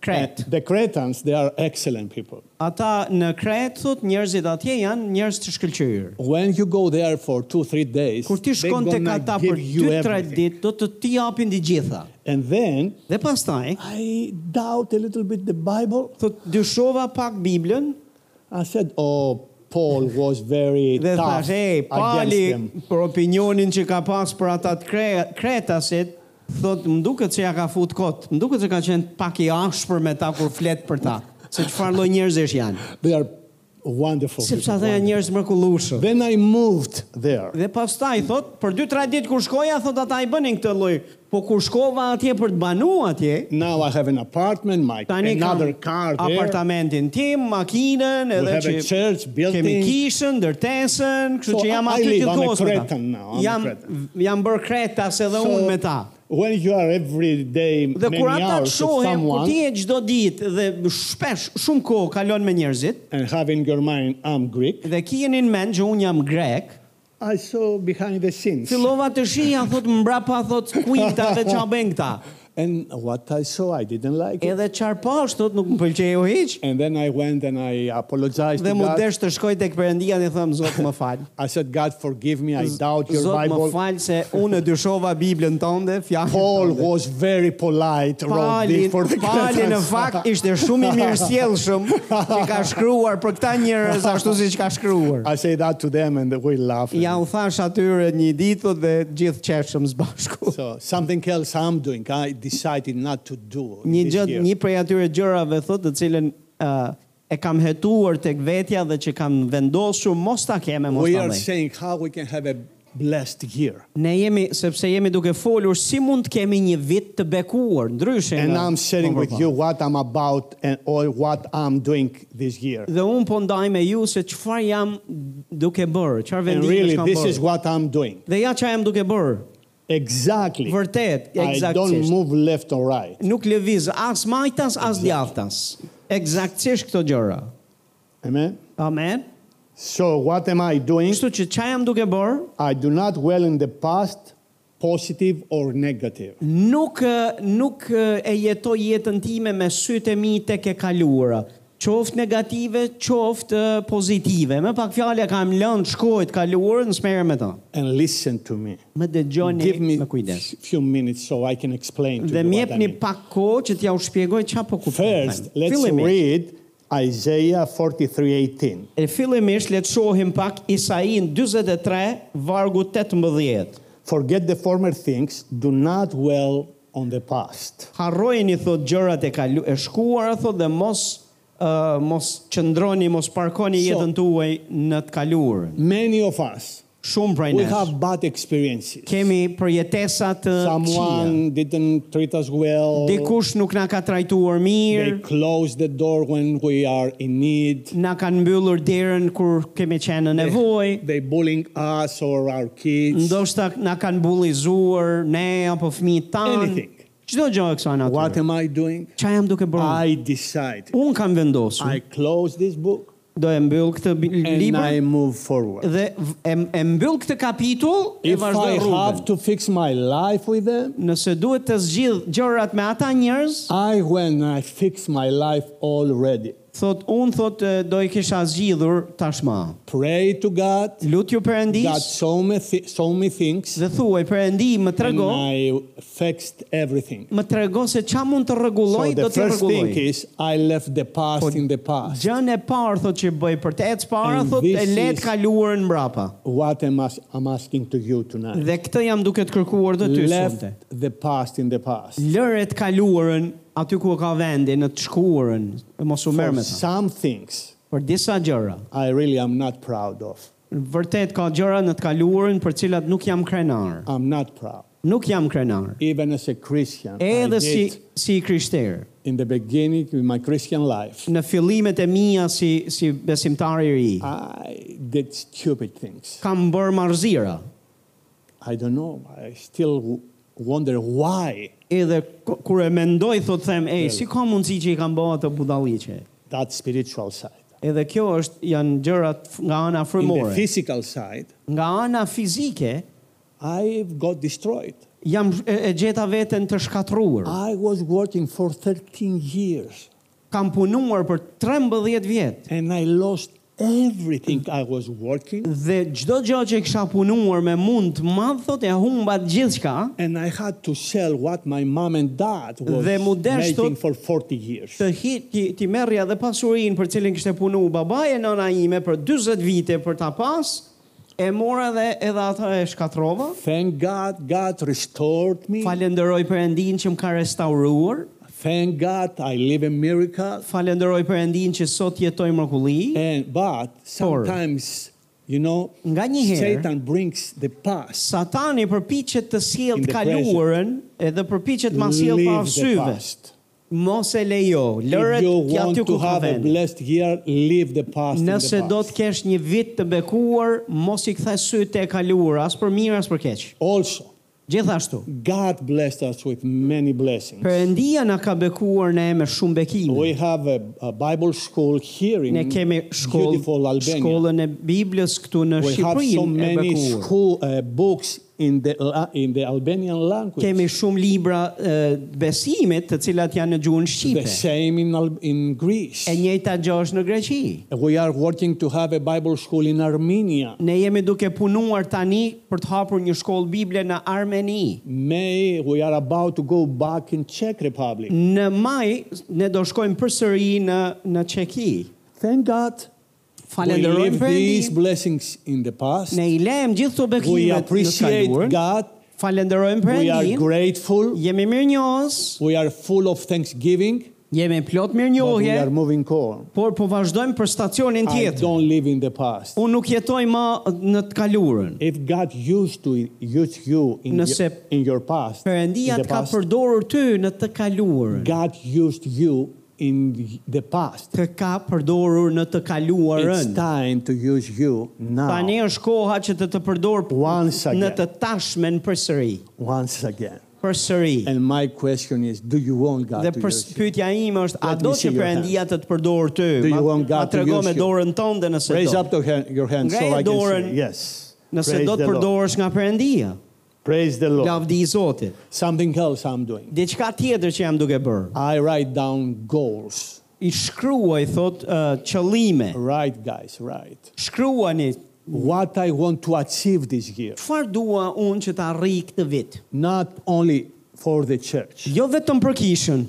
Kret.
And The Cretans, they are excellent people.
Ata në Kret thot njerëzit atje janë njerëz të shkëlqyer.
When you go there for two, three days,
Kur ti
they're
shkon tek
gonna
ata
give
për
you
2-3
everything.
ditë, do të ti japin të gjitha.
And then
Dhe pastaj
I doubt a little bit the Bible.
thot dyshova pak Biblën
I said, oh, Paul was
<laughs>
very
dhe
tough
thash, "Hey,
against
pali
them.
për opinionin që ka pas për ata të kre- kretasit." Thot, "Më duket se ja ka fut kot. Më duket se ka qenë pak i ashpër me ta kur flet për ta." Se çfarë lloj njerëzish janë.
They are wonderful.
Sepse
people,
ata janë
wonderful.
njerëz mrekullueshëm.
Then I moved there.
Dhe pastaj thot, për 2-3 ditë kur shkoja, thot ata i bënin këtë lloj. Po kur shkova atje për të banuar atje,
Now I have an apartment, my
tani kam
another car there.
apartamentin tim, makinën, edhe
have a
që
church building.
kemi kishën, dërtesën, kështu
So,
që jam
I- I
aty
live, I'm a
gjithkohës me ta.
Cretan now, I'm a
Jam
Cretan.
jam bër kretas edhe
So,
unë me ta.
When you are every day,
Dhe
many
kur ata të
hours with
shohin, kur
someone,
ti je çdo ditë dhe shpesh shumë kohë kalon me njerëzit
and have in your mind, I'm Greek,
dhe ki jeni në mend që unë jam grek,
I saw behind the scenes.
fillova të shija thot mbrapa thot kujta dhe ç'a bën këta.
And what I saw, I didn't like it.
Edhe çfarë po është, thot nuk më pëlqeu hiç.
And then I went and I apologized
Dhe
to
mu
God.
desh të shkoj tek Perëndia dhe them Zot më fal.
I said, God, forgive me. I doubt your
Zot më
Bible.
fal se unë e dyshova Biblën tënde, fjalën tënde.
Paul was very polite. wrote
Pali,
this for the
pali në
Cretans.
fakt ishte shumë i mirësjellshëm që ka shkruar për këta njerëz ashtu siç ka shkruar.
I say that to them and we laugh.
Ja u thash atyre një ditë dhe gjithë qeshëm së bashku.
So something else I'm doing. I decided not to do.
Një
this
gjë,
year.
një prej atyre gjërave thotë të cilën ë, e kam hetuar tek vetja dhe që kam vendosur mos ta keme mos
We
ta
are
bëj.
saying how we can have a blessed year.
Ne jemi sepse jemi duke folur si mund të kemi një vit të bekuar, ndryshe.
And
nga-
I'm sharing
Po, po,
with
po.
you what I'm about and or what I'm doing this year.
Dhe un po ndaj me ju se çfarë jam duke bërë, çfarë
And
vendime
really,
kam
this
bërë.
is what I'm doing.
Dhe ja çfarë jam duke bërë.
Exactly.
Vërtet,
I don't
eksaktësisht.
move left or right.
Nuk lëviz as majtas as djathtas. Eksaktësisht këto gjëra.
Amen.
Amen.
So what am I doing?
Kështu që çfarë jam duke bërë?
I do not dwell in the past, positive or negative.
Nuk ë, nuk ë, e jetoj jetën time me sytë e mi tek e kaluara. Qoftë negative, qoftë ë, pozitive. Me pak fjalë kam lënë shkojt kaluarën, s'merrem me ta.
And listen to me.
Më dëgjoni
Give me
me kujdes.
f- few minutes so I can explain to
Dhe
you
më
what I
jepni
mean.
pak kohë që t'ja u shpjegoj çfarë po kuptoj.
First, let's
Fillimisht-
read Isaiah 43:18.
E fillimisht le të shohim pak Isain 43 vargu 18.
Forget the former things, do not dwell on the past.
Harrojeni thot gjërat e kalu e shkuara thot dhe mos ë, mos qëndroni, mos parkoni
So-
jetën tuaj në të kaluarën.
Many of us
Shumë prej
we
nesh.
have bad experiences.
Kemi përjetesa të këqija.
Someone didn't treat us well.
Dikush nuk na ka trajtuar
They
mirë,
close the door when we are in need.
na kanë mbyllur derën kur kemi qenë në nevojë.
They bullying us or our kids.
Ndoshta na kanë bullizuar ne apo fëmijët tanë.
Anything.
Çdo gjë e kësaj
What
natyre.
am I doing?
Çfarë jam duke bërë?
I decide.
Un kam vendosur,
I close this book
do e mbyll këtë bi-
and I
libër
move forward.
dhe v- e, e mbyll këtë kapitull e
If
vazhdoj
I have
rrugën.
to fix my life with them,
Nëse duhet të zgjidh gjërat me ata njerëz,
I when I fix my life already.
thot un thot e, do i kisha zgjidhur tashmë.
Pray to God.
Lut ju
God
perëndis
so many, thi- so many things,
dhe thuaj perëndi më
and
trego,
I fixed everything.
më trego se çfarë mund të
So
rregulloj, do
the
të
first thing
rregulloj.
is I left the past in the past.
Gjën e parë thot që bëj për të ecë para
And
thot e
this
let
is-
kaluarën mbrapa.
What am I, am asking to you tonight?
Dhe këtë jam duke të kërkuar dhe ty
Left
sonte.
the past in the past.
Lëre të kaluarën aty ku ka vendi në të shkuarën, e mos u merr
For
me ta.
some things
Për disa gjëra,
I really am not proud of.
vërtet ka gjëra në të kaluarën për cilat nuk jam krenar.
I'm not proud.
Nuk jam krenar.
Even as a Christian, I
Edhe si
did
si krishter,
in the beginning of my Christian life,
në fillimet e mia si si besimtar i ri,
I did stupid things.
kam bërë marrëzira.
I don't know. I still w- wonder why.
Edhe ku- kur e mendoj thot them, ej, si ka mundësi që i kam bërë atë budalliqe?
That spiritual side.
Edhe kjo është janë gjërat nga ana
in the
frymore.
physical side,
Nga ana fizike,
I got destroyed.
jam e, e gjeta veten të shkatruar.
I was working for 13 years
Kam punuar për 13 vjet
and I lost everything I was working
dhe çdo gjë që kisha punuar me mund të madh thotë e humba gjithçka
and I had to sell what my mom and dad was
Dhe mu desh
making
thot-
for 40 years.
të hi ti, ti merrja dhe pasurinë për cilën kishte punuar babaja e nëna ime për 40 vite për ta pas e mora dhe edhe ata e shkatrova.
Thank God, God restored me.
Falenderoj Perëndin që më ka restauruar.
Thank God, I live a miracle.
Falenderoj Perëndin që sot jetoj mrekulli.
And but sometimes, you know,
Nga një herë-
Satan brings the past.
Satani përpiqet të sjellë
In
të
the
kaluarën edhe përpiqet ma sjellë pa
Leave the
syve.
past.
Mos e lejo, lëre
If you
ja
want
aty
to
ku ka
have a
vend.
blessed year, leave the past in
Nëse
the
do
past.
të kesh një vit të bekuar, mos i kthe sytë e kaluar, as për mirë as për keq.
Also,
Gjithashtu,
God blessed us with many blessings.
Perëndia na ka bekuar ne me shumë bekime.
We have a, a Bible school here in
Ne kemi shkollë,
beautiful Albania.
shkollën e Biblës këtu në
we have so
Shqipërinë e
many
bekuar.
school uh, books in the la- in the Albanian language.
Kemi shumë libra e, besimit të cilat janë në gjuhën
the
shqipe.
same in Al- in Greece.
E njëjta gjë është në Greqi.
we are working to have a Bible school in Armenia.
Ne jemi duke punuar tani për të hapur një shkollë Bible në Armeni.
May we are about to go back in Czech Republic.
Në maj ne do shkojmë përsëri në në Çeki.
Thank God. We
Falenderojmë
leave these
Perëndin.
blessings in the past.
Ne i lëm gjithë këto
We
bekime të
appreciate
kaluarën.
God.
Falenderojmë
We are
Perëndin.
grateful.
Jemi mirënjohës,
We are full of thanksgiving.
jemi plot
But we are
mirënjohje,
moving on.
por po vazhdojmë për stacionin
I
tjetër.
don't live in the past.
Unë nuk jetoj më në të kaluarën.
If God used to use you in,
Nëse
your, in your past, in
Perëndia
the
të ka
past
përdorur ty në të kaluarën.
God used you in the past.
Të ka përdorur në të kaluarën.
It's time to use you
Tani
now,
është koha që të të përdor
Once again.
në të tashmen përsëri.
once again.
Përsëri.
And my question is, do you want God
Dhe
to
për
use you?
pyetja ime është, a
Let jo, me
do
see
që
your
Perëndia të të përdor ty?
Do
Ma,
you want
ma
God to
trego
use
me
you?
dorën tënde nëse
Raise
do.
up the hand, your hand so
Ngreje
I can
dorën
see. Yes.
Nëse
Praise
do të
the Lord.
përdoresh nga Perëndia.
Praise the Lord.
Lavdi i Zotit.
Something else I'm doing.
Diçka tjetër që jam duke bërë.
I write down goals.
I shkruaj thot uh, qëllime.
Right, guys, right.
Shkruani
What I want to achieve this year,
çfarë dua unë që të arrij këtë vit.
not only for the church,
Jo vetëm për kishën,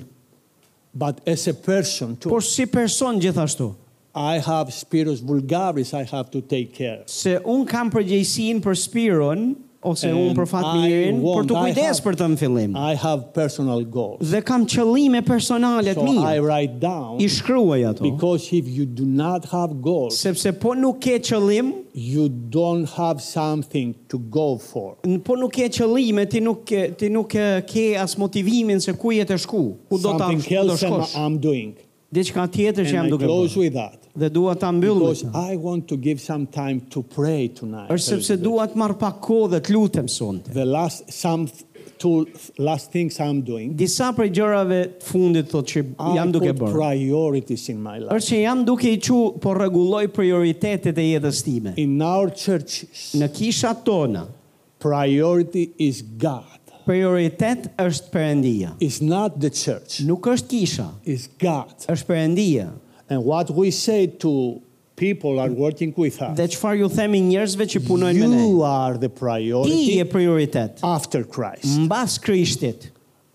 but as a person too.
por si person gjithashtu.
I have Spiros vulgaris I have to take care of.
Se unë kam përgjegjësinë për Spiron ose
And
unë për Fatmirin
I want-
për të
I
kujdes
have-
për të në fillim.
I have personal goals.
Dhe kam qëllime personale të
So I
mia.
write down
I shkruaj ato.
because if you do not have goals,
Sepse po nuk ke qëllim,
you don't have something to go for.
n- po nuk ke qëllime, ti nuk ke, ti nuk ke, ke as motivimin se ku je të shku, ku do ta
Something
ku do
else am-
shkosh.
I'm doing.
Diçka tjetër që
And
jam
I
duke
close
bërë.
with that.
Dhe dua ta mbyll. me
Because
këtë.
I want to give some time to pray tonight.
Është sepse dua të marr pak kohë dhe të lutem sonte.
The last some two last things I'm doing.
Disa prej gjërave të fundit thotë që
I
jam duke
put
bërë.
priorities in my life.
Është që jam duke i qu po rregulloj prioritetet e jetës time.
In our churches,
Në kishat tona,
priority is God.
prioritet është Perëndia.
It's not the church.
Nuk është kisha,
It's God.
është Perëndia.
And what we say to people are working with us.
Dhe çfarë ju themi njerëzve që punojnë me ne?
you are the
Ti
priority
je prioritet.
after Christ,
Mbas Krishtit,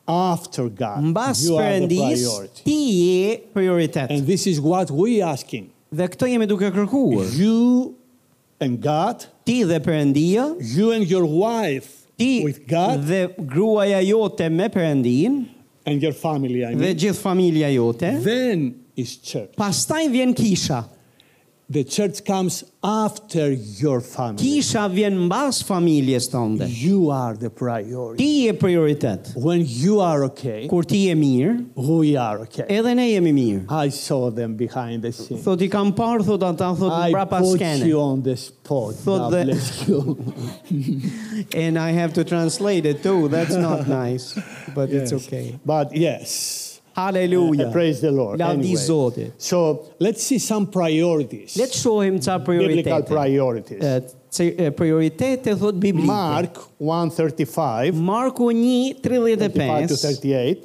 after God.
mbas
you are the
Perëndis,
priority.
ti je prioritet.
And this is what we asking.
Dhe këtë jemi duke kërkuar.
You and God,
Ti dhe Perëndia,
you and your wife
ti
with God
dhe gruaja jote me Perëndin
and your family, I
dhe
mean.
gjithë familja jote.
Then is church.
Pastaj vjen kisha.
The church comes after your family.
Kisha vjen mbas familjes tënde.
You are the priority.
Ti je prioritet.
When you are okay,
Kur ti je mirë,
we are okay.
edhe ne jemi mirë.
I saw them behind the scenes.
Thot i kam parë, thot ata, thot
I
mbrapa
put
skene.
you on the spot.
Thought
God
that-
bless you.
And I have to translate it too. That's
<laughs>
not nice, but it's okay.
But yes.
Hallelujah.
Uh, praise the Lord.
Lavdi
Anyway.
Zotit.
So let's see some priorities.
Le të shohim ca
biblical
prioritete.
priorities.
Eh, ce- eh, Prioritete thot Biblia.
Mark
Mm,
135,
Marku
35 to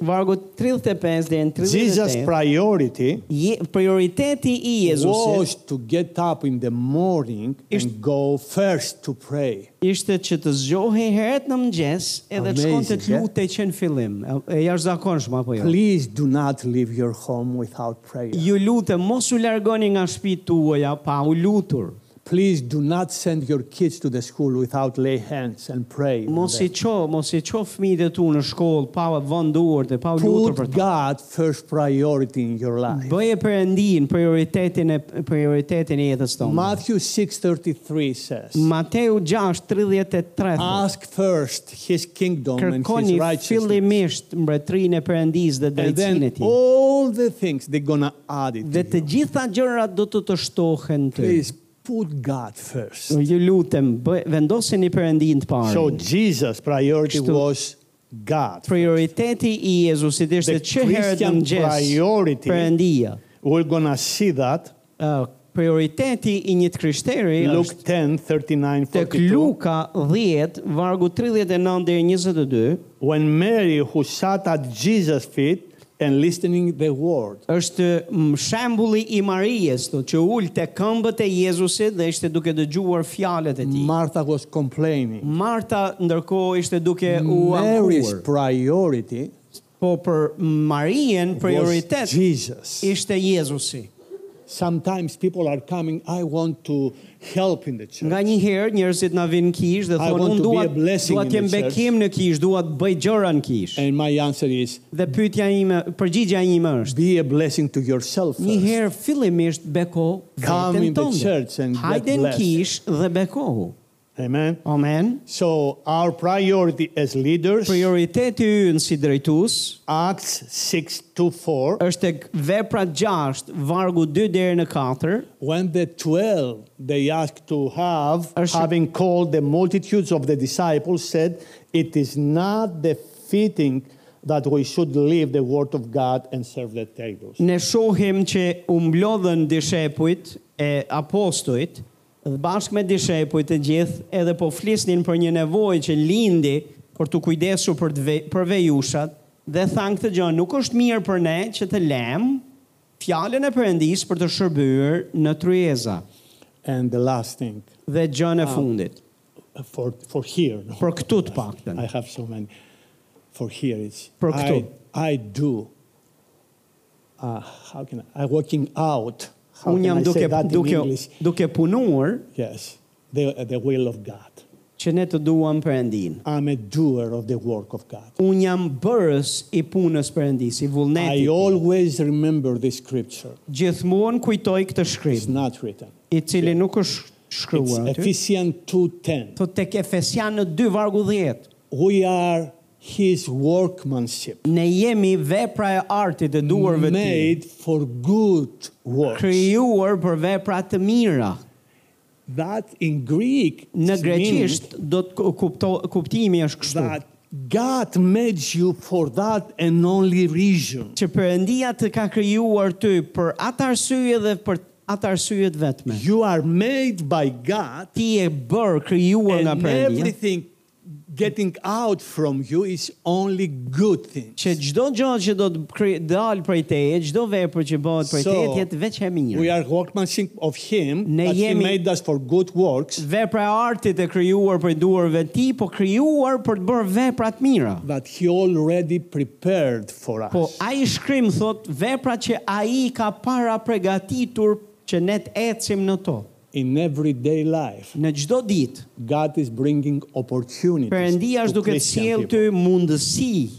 1:35,
38.
vargu 35 deri në
Jesus
38.
priority
Je, prioriteti i Jezusit
was to get up in the morning
Ishte-
and go first to pray.
ishte që të zgjohej herët në mëngjes edhe të shkonte të
Amazing, eh?
lutej që në fillim. E jashtëzakonshme apo jo?
Please do not leave your home without prayer.
Ju lutem mos u largoni nga shtëpi tuaja pa u lutur.
Please do not send your kids to the school without lay hands and pray. on
Mos i
them.
ço, mos i ço fëmijët e tu në shkollë pa vënë duart e pa u lutur për
Put
ta.
God first priority in your life.
Bëje Perëndin prioritetin e prioritetin e jetës tonë.
Matthew 6:33 says,
Mateu 6:33 thot,
"Ask first His kingdom and His
Kërkoni
righteousness,
fillimisht mbretërinë e Perëndisë dhe
and
drejtsinë e
then
tij.
oh, all the things they're gonna add it."
Dhe
to
të
you.
gjitha gjërat do të të shtohen ty.
Please put God first.
Ju lutem, bë- vendosini Perëndin të parë.
So Jesus' priority
Kështu.
was God.
Prioriteti i Jezusit ishte
The
që herët në
Christian
mëngjes.
priority-
Perëndia.
We're gonna see that.
Ë, prioriteti i një të krishteri
Luke
është
10, 39,
tek
42.
Luka 10, vargu 39 deri 22,
When Mary, who sat at Jesus' feet and listening the word,
është mm, shembulli i Marijes, thotë që ul te këmbët e Jezusit dhe ishte duke dëgjuar fjalët e tij.
Martha was complaining.
Marta ndërkohë ishte duke u
Mary's
ankuar.
priority
Po për Marijen
was
prioritet
Jesus.
ishte Jezusi.
Sometimes people are coming, I want to help in the church.
Nga një herë njerëzit na vinë kish dhe
I
thonë
want
unë
to be
dua
a blessing
dua
in
të jem
the church."
bekim në kish, dua të bëj gjëra në kish.
And my answer is
Dhe pyetja ime, përgjigjja ime është
be a blessing to yourself.
Një
First.
herë fillimisht beko
Come
vetën
in the church
tënde.
and get
Hajde në
blessed.
kish dhe bekohu.
Amen.
Amen.
So our priority as leaders,
Prioriteti ynë si drejtues
Acts 6 to 4,
është tek vepra 6, vargu 2 deri në 4,
when the 12 they asked to have,
Është-
having called the multitudes of the disciples, said, It is not befitting that we should leave the word of God and serve the tables.
ne shohim që u mblodhën dishepujt e apostujt Dhe bashkë me dishepujt të gjithë, edhe po flisnin për një nevojë që lindi kur të kujdesu për të ve, për vejushat dhe than këtë gjë, nuk është mirë për ne që të lëm fjalën e Perëndis për të shërbyer në tryeza
And the last thing
dhe gjën e fundit.
for, for here, no?
Për këtu të paktën.
I have so many. For here, it's
Pro
I,
October.
I do. Uh, how can I? I working out. How
Unë jam
can I say
duke
that in
duke
English?
duke punuar
Yes, the, the will of God.
që ne të duam Perëndin.
I'm a doer of the work of God.
Unë jam bërës i punës Perëndis, i
I
vullnetit.
always remember this scripture.
Gjithmonë kujtoj këtë
It's
shkrim,
not written.
i cili nuk është shkruar
It's
aty.
Ephesians 2.10.
Thot tek Efesianë 2 vargu 10.
We are his workmanship,
Ne jemi vepra e artit e duarve të tij,
made for good works.
krijuar për vepra të mira.
That in Greek
Në
it means
greqisht do të ku- kupto kuptimi është kështu.
that God made you for that and only reason.
Që Perëndia të ka krijuar ty për atë arsye dhe për atë arsye të vetme.
You are made by God
Ti je bërë krijuar nga
and
Perëndia.
everything getting out from you is only good things.
që çdo gjë që do të kri- dalë prej teje, çdo vepër që bëhet prej teje, të
So,
jetë veç e mirë.
we are workmanship of Him
Ne
that He
jemi-
made us for good works
Vepra e artit e krijuar për duarve të tij, po krijuar për të bërë vepra të mira.
that He already prepared for us.
Po ai shkrim thot veprat që ai ka para përgatitur që ne të ecim në to.
In everyday life,
Në çdo ditë,
God is bringing opportunities
Perëndia është
to
duke të
Christian
sjell ty
people
mundësi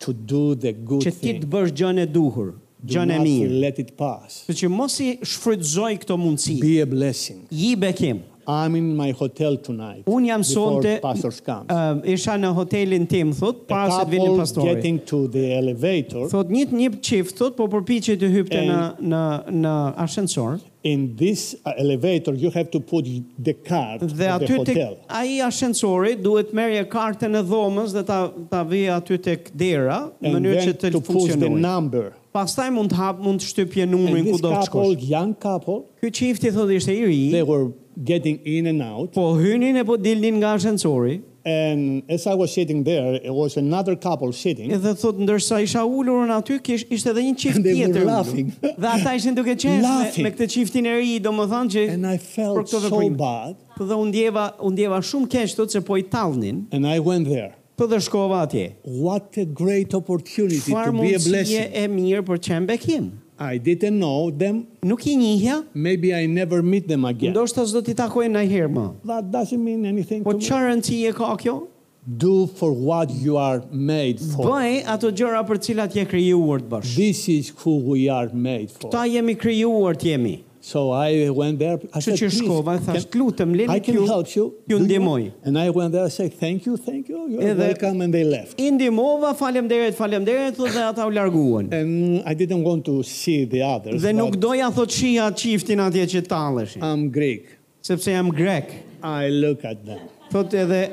to do the good
që ti
thing.
të bësh gjën e duhur,
Do
gjën e
not
mirë.
let it pass.
Kështu që mos i shfrytëzoj këto mundësi.
Be a blessing.
Ji bekim.
I'm in my hotel tonight.
Un jam
before
sonte
pastors comes.
ë, isha në hotelin tim thot,
A
para se të vinin
couple
pastori.
getting to the elevator.
Thot një një çift thot, po përpiqej të hypte në
And-
në në ashensor.
In this uh, elevator, you have to put the card of
Dhe
the
aty tek
hotel.
ai ashensori duhet merrje kartën e dhomës dhe ta ta vijë aty tek dera në
And
mënyrë që të
then to push the
funksionojë.
number.
Pastaj mund të hap mund të shtypje numrin
And
ku
this
do të
couple,
shkosh.
young couple,
Ky çifti thotë ishte i ri,
they were getting in and out.
po hynin e po dilnin nga ashensori.
And as I was sitting there, it was another couple sitting,
Edhe thot ndërsa isha ulur unë aty, kish ishte edhe një çift
And they were
tjetër. ulur.
laughing.
Dhe ata ishin duke qenë me,
Laughing.
me këtë çiftin e ri, domethënë që
and I
për
felt
këto
so
veprime.
bad.
Po dhe u ndjeva, u ndjeva shumë keq thotë se po i tallnin.
And I went there.
Po dhe shkova atje.
What a great opportunity
Çfarë
to be a
mundësie
blessing.
e mirë për çem bekim.
I didn't know them.
Nuk i njihja,
Maybe I never meet them again.
ndoshta s'do t'i takoj ndajherë më.
That doesn't mean anything
Po
to me.
çfarë rëndësie ka kjo?
Do for what you are made for.
Bëj ato gjëra për cilat je krijuar të bësh.
This is who we are made for.
Ta jemi krijuar të jemi.
So I went there.
Kështu
I said,
që
"Please,
shkova e thash,
can-
lutem lini
I can
ju-
help you.
ju
Do
ndihmoj."
And I went there. I said, thank you, thank you. You're
Edhe-
welcome. And they left.
I ndihmova, faleminderit, faleminderit, thotë dhe ata u larguan.
And I didn't want to see the others.
Dhe nuk
but
doja thot shija çiftin atje që talleshin,
I'm Greek.
sepse jam grek.
I look at them.
Thot edhe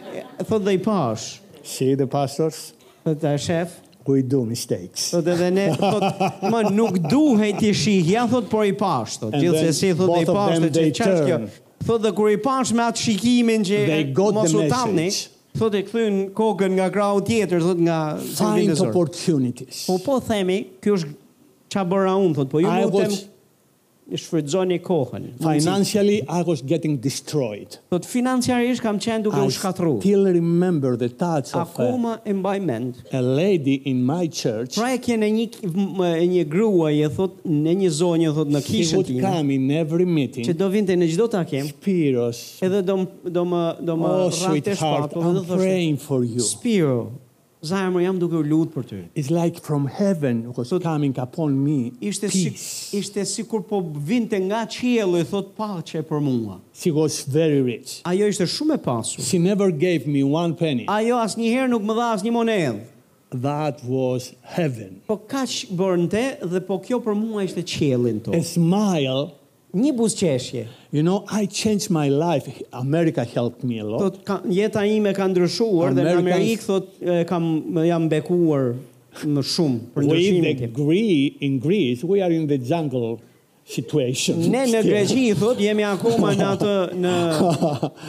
thot dhe i pash.
See the pastors?
Thot e shef,
We do mistakes.
thot edhe ne thot më nuk duhet i shihja thot por i pash thot.
And
Gjithsesi
then
thot dhe i
both of
pash
them,
thot që
they
çfarë është kjo.
turn.
Thot dhe kur i pash me atë shikimin që
They got
mos
the
u tallni,
message.
thot e kthyn kokën nga krau tjetër thot nga
Find
televizor.
opportunities.
Po po themi, ky është ça bëra unë thot, po ju
I
lutem
was-
shfrytëzoni kohën.
Financially, I was getting destroyed.
Thot financiarisht kam qenë duke
I
u shkatru.
still remember the touch of a,
Akoma e mbaj mend.
a lady in my church.
Prekjen Pra e një më- e një gruaje thot në një zonjë thot në
She
kishën
would
time
come in every
që
meeting.
do vinte në çdo takim,
Spiros,
edhe do m- do më do më
oh
rante
sweetheart,
shpatë, do
I'm
thoshte
praying for you.
Spiro, zemër jam duke u lut për ty.
It's like from heaven was coming upon me
Ishte si,
peace.
ishte sikur po vinte nga qielli thot paqe për mua.
She was very rich.
Ajo ishte shumë e pasur.
She never gave me one penny.
Ajo asnjëherë nuk më dha asnjë monedh.
That was heaven.
Po kaq bërnte dhe po kjo për mua ishte qiellin
A
tonë.
smile.
Një buzqeshje.
You know, I changed my life. America helped me a lot.
Thot ka, jeta ime ka ndryshuar dhe në
Americans-
Amerikë thot e, kam jam bekuar më shumë për
We
ndryshimin
the
tim.
Gre- in Greece, we are in the jungle situation.
Ne
<laughs>
në Greqi i thot jemi akoma në atë në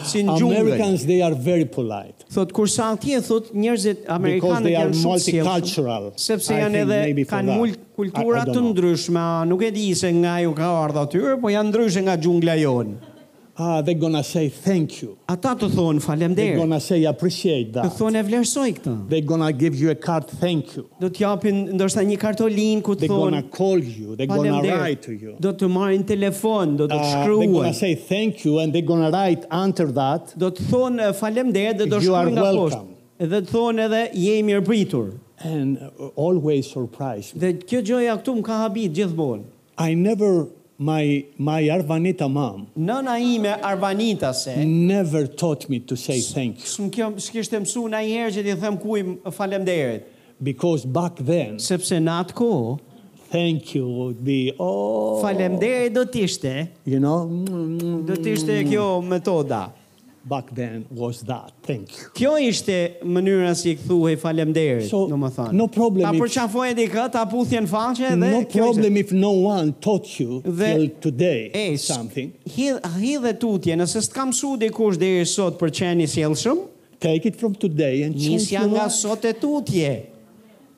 si në gjungë.
Americans, they are very polite
Thot kurse atje thot njerëzit
because
amerikanë
they are
janë shumë të sjellshëm.
multicultural.
sepse
I
janë
think maybe
edhe
for
kanë
that.
mul kultura
I- I don't
të
know.
ndryshme, a, nuk e di se nga ju ka ardhur atyre, po janë ndryshe nga xhungla jon.
Ah, they're gonna say thank you.
Ata të thonë
They're
faleminderit,
gonna say
të
appreciate that.
thonë e vlerësoj këtë.
They're gonna give you a card thank you.
Do t'japin ndoshta një kartolinë ku të
They're gonna
thonë
call you. They're gonna write to you.
faleminderit. Do të marrin telefon, do të
Uh, they're gonna
shkruajnë.
say thank you and they're gonna write under that
Do të thonë e, faleminderit dhe do
You are
shkruajnë nga poshtë.
welcome.
Dhe të thonë edhe je i mirëpritur.
and uh, always surprise me.
Dhe kjo gjoja këtu më ka habit gjithmonë.
I never my my Arvanita mom
Nëna ime Arvanita se
never taught me to say thank you
s'm kjo s'kishte mësuar na herë që t'i them kuj faleminderit.
because back then
sepse në atë kohë
thank you would be oh
Faleminderit do të ishte,
you know mm, mm,
do të ishte kjo metoda.
back then was that thank you.
Kjo ishte mënyra si i thuhej faleminderit,
So,
domethënë.
no problem
Ta
if-
përqafoj dikë, ta puthjen faqe dhe kjo
no
ishte.
problem if no one taught you
The-
till today
E, s-
something.
Hidh hidhe tutje, nëse s'ka mësuar dikush deri sot për qenë i sjellshëm,
Take it from today and change
nisja
your
nga
life
sot e tutje.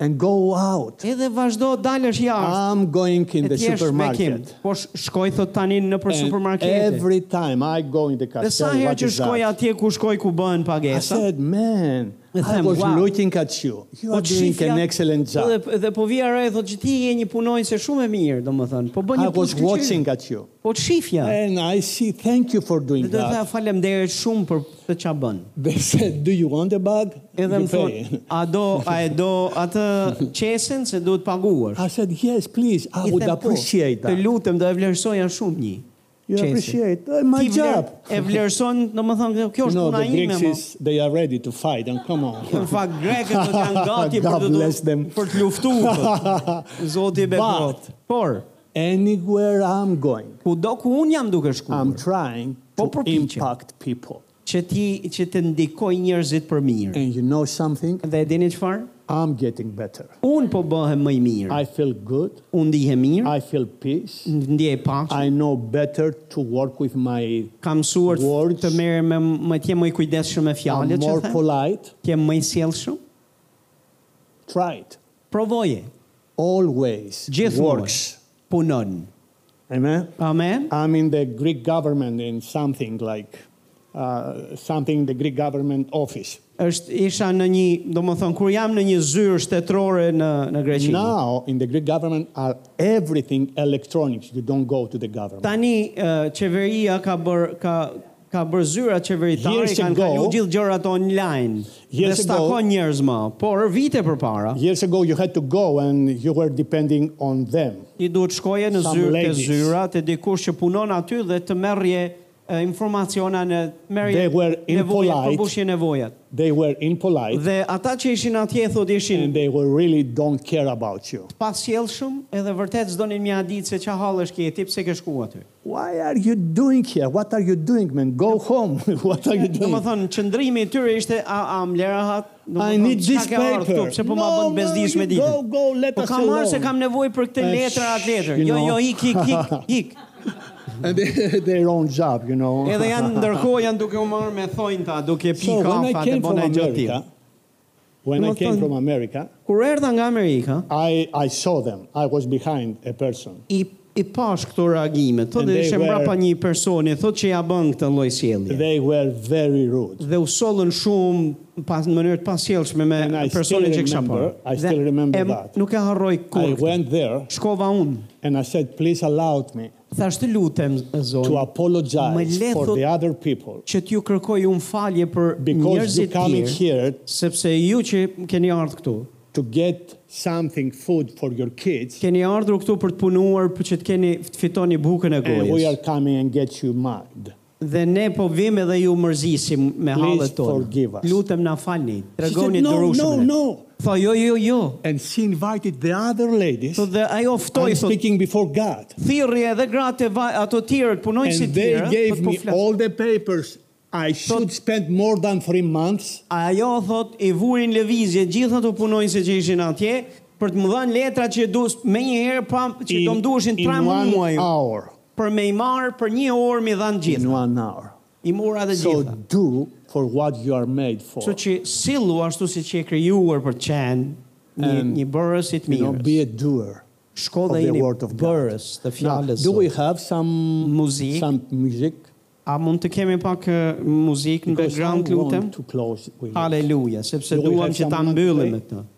and go out.
Edhe vazhdo dalësh jashtë.
I'm going in
e
the
t'jesh bekim.
Ah, supermarket.
Po sh- shkoj thot tani në për
And
supermarkete.
every time I go in the cafe,
Dhe sa herë
what
që
is
shkoj
that?
atje ku shkoj ku bën
I
pagesa.
said, man,
Dhe
I
them,
was
"Wow."
looking at you. You are
të
doing
shifja-
an excellent job.
po Dhe, dhe po vija re thotë që ti je një punonjëse shumë e mirë, domethënë. Po bën
I
një
was
punë
watching
shkëlqyer.
at you.
Po të shifja.
And I see, thank you for
Dhe
doing
do të tha
that.
faleminderit shumë për të ç'a bën.
<laughs> They said, do you want a bag?
Edhe
You
më thonë,
pay.
a do, a e do atë qesen se duhet paguash.
I said, yes, please, I would
them, "Po,
appreciate
Të
that.
lutem, do e vlerësoja shumë një.
You
qesin."
appreciate uh, my
Ti vler,
job.
e vlerëson, domethënë, kjo
You
është
know,
puna
the
ime.
Greeks,
mo.
is, they are ready to fight, and come
Në <laughs>
on.
fakt grekët do të
<laughs>
janë gati për
God
të
bless them.
për të
<laughs>
luftuar. Zoti e bekohet.
But-
Por
Anywhere I'm going,
kudo ku un jam duke shkuar.
I'm trying
Po
to
përpiqem.
impact people.
që ti që të ndikoj njerëzit për mirë.
And you know something?
Dhe e dini çfarë?
I'm getting better.
Un po bëhem më i mirë.
I feel good.
Un ndihem mirë,
I feel peace.
ndjej paqe.
I know better to work with my.
Kam mësuar të-
Words.
të merrem me më të jem më i kujdesshëm me
I'm
fjalët që
more
them,
polite.
të jem më i sjellshëm.
Try it.
Provoje.
Always
Gjithmonë
works.
punon.
Amen.
Amen.
I'm in the Greek government in something like uh, something in the Greek government office.
Është isha në një, domethënë kur jam në një zyrë shtetërore në në Greqi.
Now in the Greek government are everything electronics. You don't go to the government.
Tani eh, qeveria ka bër ka ka bër zyra qeveritare,
Years
kanë
ago-
kalu gjithë gjërat online. Dhe
Years ago-
stakon njerëz më, por vite përpara
Years ago, you had to go and you were depending on them.
ti duhet shkoje në
Some
zyrë të
ladies.
zyra të dikush që punon aty dhe të merrje eh, informaciona në merrje
They were
nevojat,
impolite.
përmbushje nevojat.
They were impolite
Dhe ata që ishin atje thotë ishin
and they were really don't care about you.
pasjellshëm edhe vërtet s'donin mja ditë se ç'a hallësh ke ti pse ke shkuar aty.
Why are you doing here? What are you doing, man? Go home. <laughs> what are you
Do më
doing?
thënë, qëndrimi i tyre ishte a, a më lera hat, do
I
thënë,
need
çka
this
ke ardhur
paper.
Pse po ma bën
No, no,
bezdish me
you
ditën.
go, go, let
po
us
kam marrë
alone.
se kam nevojë për këtë
Eh,
letër atë letër.
you
Jo,
know.
jo, ik, ik, ik,
<laughs>
ik.
and they, their own job, you know.
Edhe
<laughs>
janë ndërkohë janë duke u marrë me thonjta, duke
so
pikë
when
kafa e
I
të
came from
bëna gjë të tillë.
America, when I
Domethënë-
came from America,
Kur erdha nga Amerika,
I, I saw them. I was behind a person.
i i pash këto reagime.
And
Thotë
they
ishte
were-
mbrapa një personi, thotë që ja bën këtë lloj sjellje.
They were very rude.
dhe u sollën shumë pas në mënyrë të pasjellshme me
And I still
personin që kisha parë.
remember- I
Dhe
still remember
em-
that.
Nuk e harroj
I
kur.
went there
Shkova unë.
and I said, please allow me
Thash të lutem
to
zonë
apologize
Më le
for
thot-
the other people
që t'ju kërkoj unë falje për
because you
njerëzit
coming
tjerë,
here
sepse ju që keni ardhur këtu,
to get something food for your kids
keni ardhur këtu për të punuar, për që të keni të fitoni bukën e
and we are
gojës.
coming and get you mad.
Dhe ne po vim edhe ju mërzisim me
Please
hallet
forgive
tona.
us.
Lutem na falni,
She
tregoni
said, "No,
dërushmërinë."
no, no.
Tha jo, jo, jo.
And she invited the other ladies.
Tho dhe ajo ftoi
I'm
thot
speaking before God.
thirrje edhe gratë e va- ato tjerë të punojnë si
And they
tjerë, po
gave
të po
me
flas.
all the papers. I should spend more than three months.
Ajo thot i vurin lëvizje gjithë ato punojnë se që ishin atje për të më dhënë letra që du me një herë pa që do më duheshin 3
in one
muaj
hour.
për me i marr për një orë mi dhanë
In
gjitha.
one hour.
I mora dhe
So
gjitha.
do for what you are made for.
Kështu që sillu ashtu si që e krijuar për të qenë një,
And,
një bërës i të
you know, be
mirës.
a doer.
Shko
of
dhe
the
jeni
word of God.
bërës të
Now,
fjallës.
do we have some
Music.
Some music.
A mund të kemi pak eh, muzikë në
Because I
background lutem?
want to close with it.
Haleluja, sepse
Do we
duam
have
që ta
someone to
mbyllim
play?
me këtë.